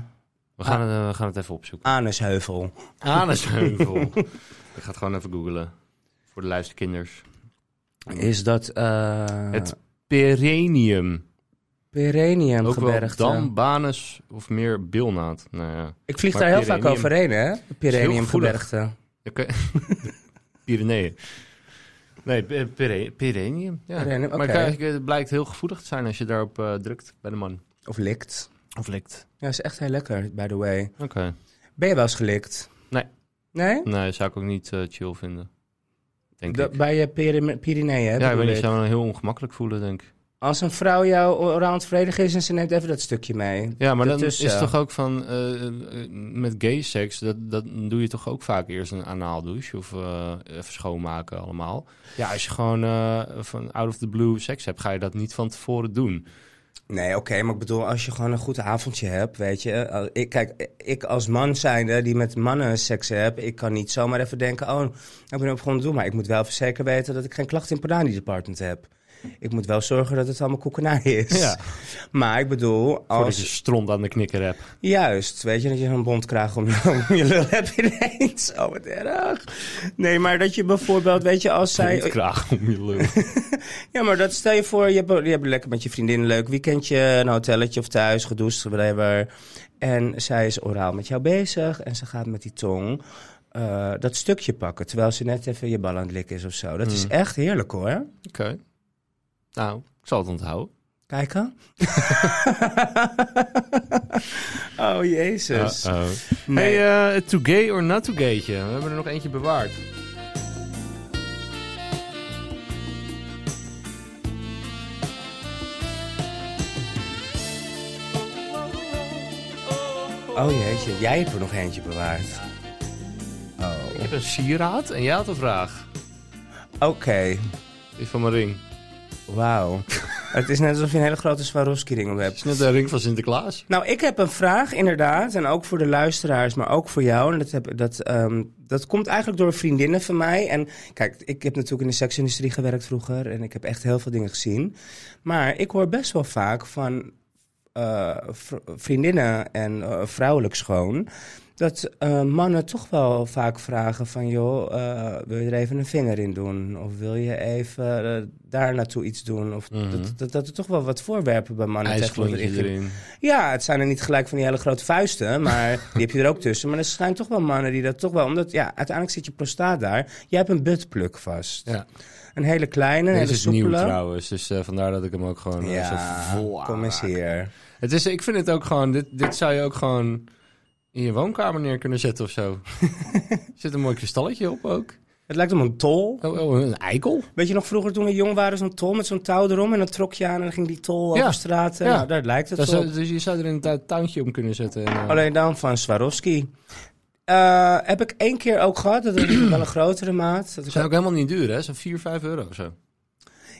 Speaker 2: We gaan, het, eh, we gaan het even opzoeken.
Speaker 1: anusheuvel.
Speaker 2: Anusheuvel. *laughs* Ik ga het gewoon even googlen. Voor de luisterkinders.
Speaker 1: Is dat eh
Speaker 2: Het Perenium.
Speaker 1: Perenium
Speaker 2: Ook wel
Speaker 1: gebergte?
Speaker 2: dambanus of meer bilnaad. Nou ja.
Speaker 1: Ik vlieg
Speaker 2: Maar
Speaker 1: daar heel vaak
Speaker 2: Pyreneeën-
Speaker 1: overheen, hè? Perenium
Speaker 2: gevoelig.
Speaker 1: gebergte.
Speaker 2: Oké. *laughs* Pyreneeën. Nee, Pe- Pere- Perenium. Ja.
Speaker 1: Pyreneeën, oké.
Speaker 2: Maar kijk, het blijkt heel gevoelig te zijn als je daarop eh, drukt bij de man.
Speaker 1: Of likt.
Speaker 2: Of likt.
Speaker 1: Ja, is echt heel lekker, by the way.
Speaker 2: Oké.
Speaker 1: Ben je wel eens gelikt?
Speaker 2: Nee.
Speaker 1: Nee?
Speaker 2: Nee, zou ik ook niet eh, chill vinden. Denk
Speaker 1: Da-
Speaker 2: ik.
Speaker 1: bij je Pyre- Pyreneeën, hè?
Speaker 2: Ja, ik
Speaker 1: bedoel
Speaker 2: weet niet,
Speaker 1: ik.
Speaker 2: zou me heel ongemakkelijk voelen, denk ik.
Speaker 1: Als een vrouw jou oraal onvredig is en ze neemt even dat stukje mee.
Speaker 2: Ja, maar
Speaker 1: Dat
Speaker 2: dan
Speaker 1: is,
Speaker 2: is het
Speaker 1: ja.
Speaker 2: toch ook van... eh, eh, met gay seks, dat, dat doe je toch ook vaak eerst een anaaldouche of eh, even schoonmaken allemaal. Ja, als je gewoon eh, van out of the blue seks hebt, ga je dat niet van tevoren doen.
Speaker 1: Nee, oké, maar ik bedoel, als je gewoon een goed avondje hebt, weet je. eh, Ik, kijk, ik als man zijnde die met mannen seks heb, ik kan niet zomaar even denken, oh, ik ben op gewoon doen. Maar ik moet wel even zeker weten dat ik geen klachten in het Pradani department heb. Ik moet wel zorgen dat het allemaal koekenaar is.
Speaker 2: Ja.
Speaker 1: *laughs* Maar ik bedoel,
Speaker 2: Voordat
Speaker 1: als...
Speaker 2: je stront aan de knikker hebt.
Speaker 1: Juist, weet je, dat je zo'n bondkraag om je, *laughs* om je lul hebt ineens. Oh, wat erg. Nee, maar dat je bijvoorbeeld, weet je, als
Speaker 2: Zij...
Speaker 1: zij...
Speaker 2: Kraag om je lul. *laughs*
Speaker 1: Ja, maar dat stel je voor, je hebt, je hebt lekker met je vriendin een leuk weekendje, een hotelletje of thuis, gedoucht, whatever. En zij is oraal met jou bezig en ze gaat met die tong eh, dat stukje pakken, terwijl ze net even je bal aan het likken is of zo. Dat
Speaker 2: Hmm.
Speaker 1: is echt heerlijk hoor.
Speaker 2: Oké. Nou, ik zal het onthouden. *laughs*
Speaker 1: Kijken. oh, jezus.
Speaker 2: Uh-oh.
Speaker 1: Nee.
Speaker 2: Dus- Hey, eh, too gay or not too gaytje. We hebben er nog eentje bewaard.
Speaker 1: Oh jeetje, jij hebt er nog eentje bewaard. Oh.
Speaker 2: Ik heb een sieraad en jij had een vraag.
Speaker 1: Oké,
Speaker 2: Die is van mijn ring.
Speaker 1: wauw. Het is net alsof je een hele grote Swarovski-ring op hebt.
Speaker 2: Het is net de ring van Sinterklaas.
Speaker 1: Nou, ik heb een vraag inderdaad. En ook voor de luisteraars, maar ook voor jou. En dat, heb, dat, ehm, dat komt eigenlijk door vriendinnen van mij. En kijk, ik heb natuurlijk in de seksindustrie gewerkt vroeger. En ik heb echt heel veel dingen gezien. Maar ik hoor best wel vaak van eh, vr- vriendinnen en eh, vrouwelijk schoon... dat eh, mannen toch wel vaak vragen van... joh, eh, wil je er even een vinger in doen? Of wil je even eh, daar naartoe iets doen? Of
Speaker 2: Mhm.
Speaker 1: dat, dat, dat er toch wel wat voorwerpen bij mannen tegenwoordig
Speaker 2: IJsklontje
Speaker 1: ingediend
Speaker 2: erin.
Speaker 1: ja, het zijn er niet gelijk van die hele grote vuisten, maar
Speaker 2: *laughs*
Speaker 1: die heb je er ook tussen. Maar er zijn toch wel mannen die dat toch wel, omdat ja, uiteindelijk zit je prostaat daar. Jij hebt een buttplug vast.
Speaker 2: Ja.
Speaker 1: Een hele kleine, een
Speaker 2: Dit
Speaker 1: hele
Speaker 2: is nieuw
Speaker 1: soepele.
Speaker 2: trouwens, dus eh, vandaar dat ik hem ook gewoon eh,
Speaker 1: Ja,
Speaker 2: zo vol
Speaker 1: kom eens
Speaker 2: aanraak.
Speaker 1: hier.
Speaker 2: Het is, ik vind het ook gewoon, dit, dit zou je ook gewoon in je woonkamer neer kunnen zetten of *laughs* zo. er zit een mooi kristalletje op ook.
Speaker 1: Het lijkt om een tol.
Speaker 2: Oh, oh, een eikel?
Speaker 1: Weet je nog vroeger toen we jong waren, zo'n tol met zo'n touw erom en dan trok je aan en dan ging die tol
Speaker 2: Ja.
Speaker 1: over straat.
Speaker 2: Ja.
Speaker 1: Nou, daar lijkt het
Speaker 2: Daar
Speaker 1: op.
Speaker 2: zou- dus je zou er een tu- tuintje om kunnen zetten. en, eh,
Speaker 1: Alleen dan van Swarovski. Eh, heb ik één keer ook gehad, dat is wel een grotere maat. Dat
Speaker 2: ze
Speaker 1: ik
Speaker 2: zijn ook helemaal niet duur, hè? Zo'n 4, 5 euro of zo.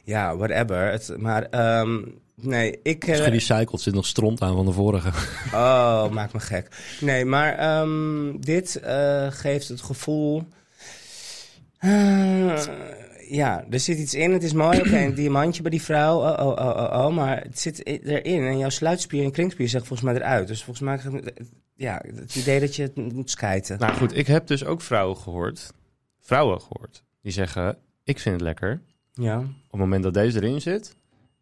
Speaker 1: Ja, whatever. Het, maar ehm, nee, ik...
Speaker 2: Het is
Speaker 1: eh,
Speaker 2: gerecycled, zit nog stront aan van de vorige.
Speaker 1: Oh, maakt me gek. Nee, maar ehm, dit eh, geeft het gevoel. Eh, ja, er zit iets in. Het is mooi. Oké, een diamantje bij die vrouw. Oh, oh, oh, oh, oh. Maar het zit i- erin. En jouw sluitspier en kringspier zegt volgens mij eruit. Dus volgens mij. gaat het- Ja, het idee dat je het moet skijten.
Speaker 2: *laughs* Nou goed, ik heb dus ook vrouwen gehoord. Vrouwen gehoord. Die zeggen, ik vind het lekker.
Speaker 1: Ja.
Speaker 2: op het moment dat deze erin zit.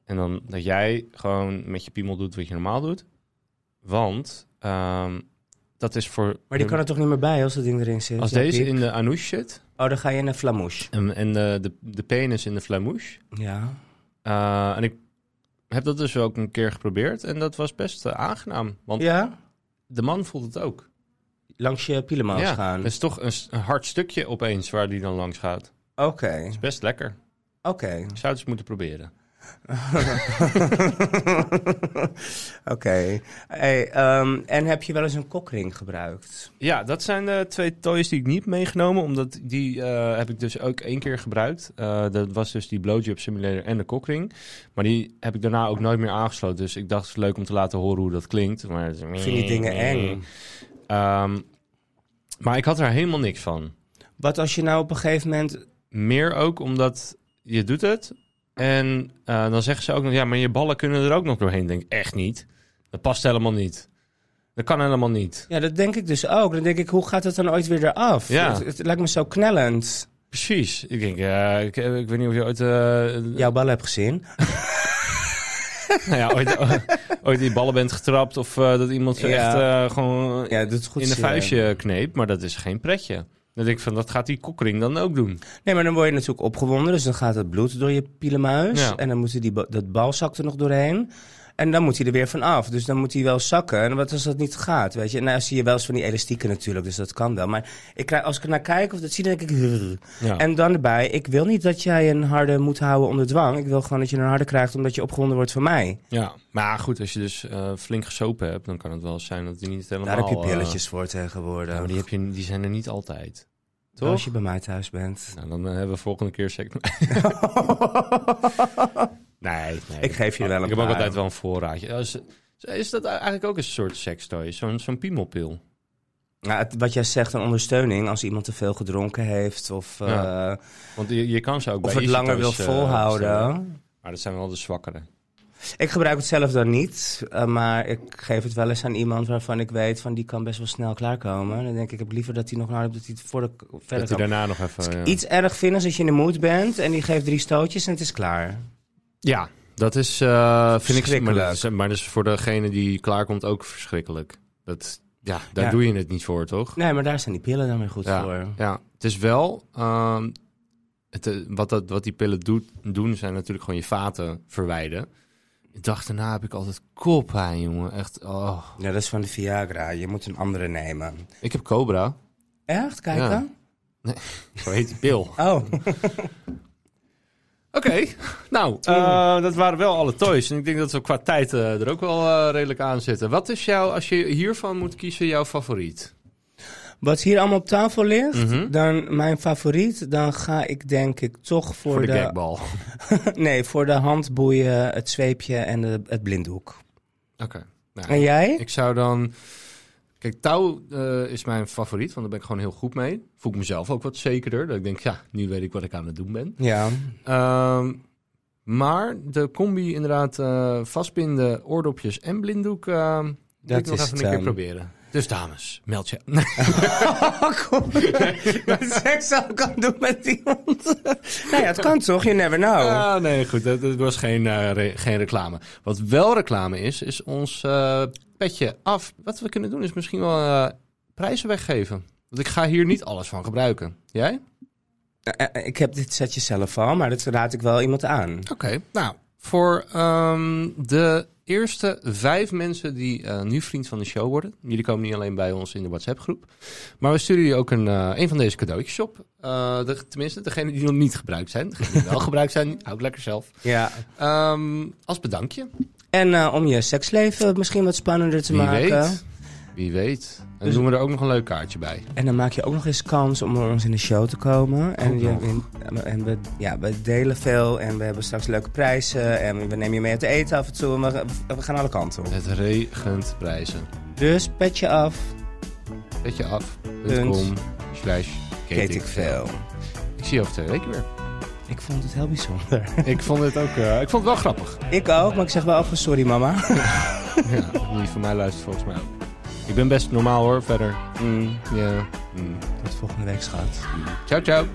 Speaker 2: En dan dat jij gewoon met je piemel doet wat je normaal doet. Want ehm, dat is voor.
Speaker 1: Maar die kan er toch niet meer bij als dat ding erin zit?
Speaker 2: als
Speaker 1: Ja,
Speaker 2: deze
Speaker 1: piep.
Speaker 2: in de anouche zit.
Speaker 1: Oh, dan ga je naar flamouche.
Speaker 2: En, en de, de, de penis in de flamouche.
Speaker 1: Ja.
Speaker 2: eh, en ik heb dat dus ook een keer geprobeerd. En dat was best eh, aangenaam. Want
Speaker 1: Ja?
Speaker 2: de man voelt het ook.
Speaker 1: Langs je pielenmaals
Speaker 2: ja, Dus-
Speaker 1: gaan.
Speaker 2: Het is toch een, s- een hard stukje opeens waar die dan langs gaat.
Speaker 1: Oké,
Speaker 2: Best lekker.
Speaker 1: oké.
Speaker 2: Ik zou het eens moeten proberen.
Speaker 1: *laughs* Oké. Hey, ehm, en heb je wel eens een kokring gebruikt?
Speaker 2: Ja, dat zijn de twee toys die ik niet heb meegenomen. Omdat die eh, heb ik dus ook één keer gebruikt. Eh, dat was dus die blowjob simulator en de kokring. Maar die heb ik daarna ook nooit meer aangesloten. Dus ik dacht, het is leuk om te laten horen hoe dat klinkt. Maar het is-
Speaker 1: Ik vind die dingen eng.
Speaker 2: Ehm, maar ik had er helemaal niks van.
Speaker 1: Wat als je nou op een gegeven moment...
Speaker 2: Meer ook omdat je doet het. En eh, dan zeggen ze ook nog, ja, maar je ballen kunnen er ook nog doorheen. Ik Denk echt niet. Dat past helemaal niet. Dat kan helemaal niet.
Speaker 1: Ja, dat denk ik dus ook. Dan denk ik, hoe gaat het dan ooit weer eraf?
Speaker 2: Ja.
Speaker 1: Het, het lijkt me zo knellend.
Speaker 2: Precies. Ik denk, eh, ik, ik weet niet of je ooit, eh, *laughs*
Speaker 1: Jouw bal heb gezien.
Speaker 2: nou ja, ooit, *laughs* ooit die ballen bent getrapt. Of eh, dat iemand ze
Speaker 1: Ja.
Speaker 2: echt eh, gewoon
Speaker 1: Ja, dat is goed eh,
Speaker 2: in de
Speaker 1: zeer.
Speaker 2: vuistje kneept. Maar dat is geen pretje. Dan denk ik van, dat gaat die kokring dan ook doen.
Speaker 1: Nee, maar dan word je natuurlijk opgewonden. Dus dan gaat het bloed door je pielenmuis.
Speaker 2: Ja.
Speaker 1: En dan moet die, ba- dat balzak er nog doorheen. En dan moet hij er weer van af. Dus dan moet hij wel zakken. En wat als dat niet gaat, weet je? En nou zie je wel eens van die elastieken natuurlijk. Dus dat kan wel. Maar ik, krijg- als ik er naar kijk of dat zie, dan denk ik... "Rrr."
Speaker 2: Ja.
Speaker 1: En dan erbij, ik wil niet dat jij een harde moet houden onder dwang. Ik wil gewoon dat je een harde krijgt omdat je opgewonden wordt van mij.
Speaker 2: Ja, maar goed, als je dus eh, flink gesopen hebt, dan kan het wel eens zijn dat die niet helemaal...
Speaker 1: Daar heb je
Speaker 2: eh,
Speaker 1: pilletjes voor
Speaker 2: ja, maar
Speaker 1: tegenwoordig.
Speaker 2: die, heb je, die zijn er niet altijd. Toch?
Speaker 1: Nou, Als je bij mij thuis
Speaker 2: *laughs*
Speaker 1: bent.
Speaker 2: Nou, dan eh, hebben we volgende keer zeker... *laughs* nee, nee.
Speaker 1: Ik geef je er wel een
Speaker 2: Ik heb ook
Speaker 1: paar.
Speaker 2: altijd wel een voorraadje. Ja, Is, is dat eigenlijk ook een soort sekstooi? Zo'n zo'n piemelpil?
Speaker 1: Ja, Nou, het- wat jij zegt, een ondersteuning als iemand te veel gedronken heeft. Of, eh,
Speaker 2: Ja. Want je, je kan ze ook
Speaker 1: of
Speaker 2: bij
Speaker 1: het langer wil
Speaker 2: Easytoys, eh, bestellen.
Speaker 1: volhouden.
Speaker 2: Maar dat zijn wel de zwakkere.
Speaker 1: Ik gebruik het zelf dan niet, eh, maar ik geef het wel eens aan iemand waarvan ik weet van die kan best wel snel klaarkomen. Dan denk ik, ik heb liever dat hij nog naar dat hij het voor de verder
Speaker 2: Dat die
Speaker 1: kan.
Speaker 2: daarna nog even... eh, ja.
Speaker 1: Iets erg vinden als dat je in de mood bent en die geeft drie stootjes en het is klaar.
Speaker 2: Ja, dat is, eh, vind ik... Maar
Speaker 1: Verschrikkelijk.
Speaker 2: dat, is, maar dat is voor degene die klaarkomt ook verschrikkelijk. Dat, ja, daar
Speaker 1: Ja.
Speaker 2: doe je het niet voor, toch?
Speaker 1: Nee, maar daar zijn die pillen dan weer goed
Speaker 2: Ja,
Speaker 1: voor.
Speaker 2: ja. het is wel... ehm, het, eh, wat, dat, wat die pillen doet, doen, zijn natuurlijk gewoon je vaten verwijderen. Ik dacht, daarna heb ik altijd koppijn, jongen. Echt, oh.
Speaker 1: Ja, dat is van de Viagra. Je moet een andere nemen.
Speaker 2: Ik heb Cobra.
Speaker 1: Echt? Kijken?
Speaker 2: Zo heet die pil. *laughs* Oké,
Speaker 1: Oh.
Speaker 2: nou, eh, dat waren wel alle toys. En ik denk dat we qua tijd eh, er ook wel eh, redelijk aan zitten. Wat is jouw, als je hiervan moet kiezen, jouw favoriet?
Speaker 1: Wat hier allemaal op tafel ligt,
Speaker 2: Mhm.
Speaker 1: dan mijn favoriet, dan ga ik denk ik toch voor,
Speaker 2: Voor de,
Speaker 1: de,
Speaker 2: gagbal.
Speaker 1: *laughs* nee, voor de handboeien, het zweepje en de, het blinddoek.
Speaker 2: Oké. nou,
Speaker 1: En jij? *laughs*
Speaker 2: Ik zou dan... Kijk, touw eh, is mijn favoriet, want daar ben ik gewoon heel goed mee. Voel ik mezelf ook wat zekerder. Dat ik denk, ja, nu weet ik wat ik aan het doen ben.
Speaker 1: Ja. *laughs*
Speaker 2: Ehm, maar de combi inderdaad eh, vastbinden, oordopjes en blinddoek... ehm, wil
Speaker 1: Dat
Speaker 2: ik nog
Speaker 1: is
Speaker 2: even
Speaker 1: het,
Speaker 2: een keer
Speaker 1: ehm.
Speaker 2: proberen. Dus dames, meld je. *laughs*
Speaker 1: Oh, Dat seks ook kan doen met iemand. *laughs* nou ja, het kan toch? You never know.
Speaker 2: Ah, nee, goed. Dat, dat was geen, eh, re- geen reclame. Wat wel reclame is, is ons eh, petje af. Wat we kunnen doen is misschien wel eh, prijzen weggeven. Want ik ga hier niet alles van gebruiken. Jij?
Speaker 1: Eh, eh, ik heb dit setje zelf al, maar dat raad ik wel iemand aan.
Speaker 2: Oké. Nou, voor ehm, de eerste vijf mensen die eh, nu vriend van de show worden. Jullie komen niet alleen bij ons in de WhatsApp-groep. Maar we sturen jullie ook een, eh, een van deze cadeautjes op. Eh, de- tenminste, degene die nog niet gebruikt zijn. Degene die wel *laughs* gebruikt zijn, hou ik lekker zelf.
Speaker 1: Ja.
Speaker 2: Ehm, als bedankje.
Speaker 1: En eh, om je seksleven misschien wat spannender te
Speaker 2: Wie
Speaker 1: maken.
Speaker 2: weet. Wie weet. En doen we er ook nog een leuk kaartje bij.
Speaker 1: En dan maak je ook nog eens kans om bij ons in de show te komen. En,
Speaker 2: Ook
Speaker 1: je,
Speaker 2: nog.
Speaker 1: en- en we, ja, we delen veel en we hebben straks leuke prijzen. En we nemen je mee uit eten af en toe. En we, we gaan alle kanten op.
Speaker 2: Het regent prijzen.
Speaker 1: Dus petje af,
Speaker 2: Petje af.
Speaker 1: Punt.
Speaker 2: .com slash
Speaker 1: weet ik veel.
Speaker 2: Ik zie je over twee weken weer.
Speaker 1: Ik vond het heel bijzonder. *laughs*
Speaker 2: ik vond het ook... eh, ik vond het wel grappig.
Speaker 1: Ik ook, maar ik zeg wel af sorry mama.
Speaker 2: ja, die van mij luistert volgens mij ook. Ik ben best normaal hoor, verder.
Speaker 1: Mm,
Speaker 2: Ja.
Speaker 1: tot volgende week, schat.
Speaker 2: Ciao, ciao.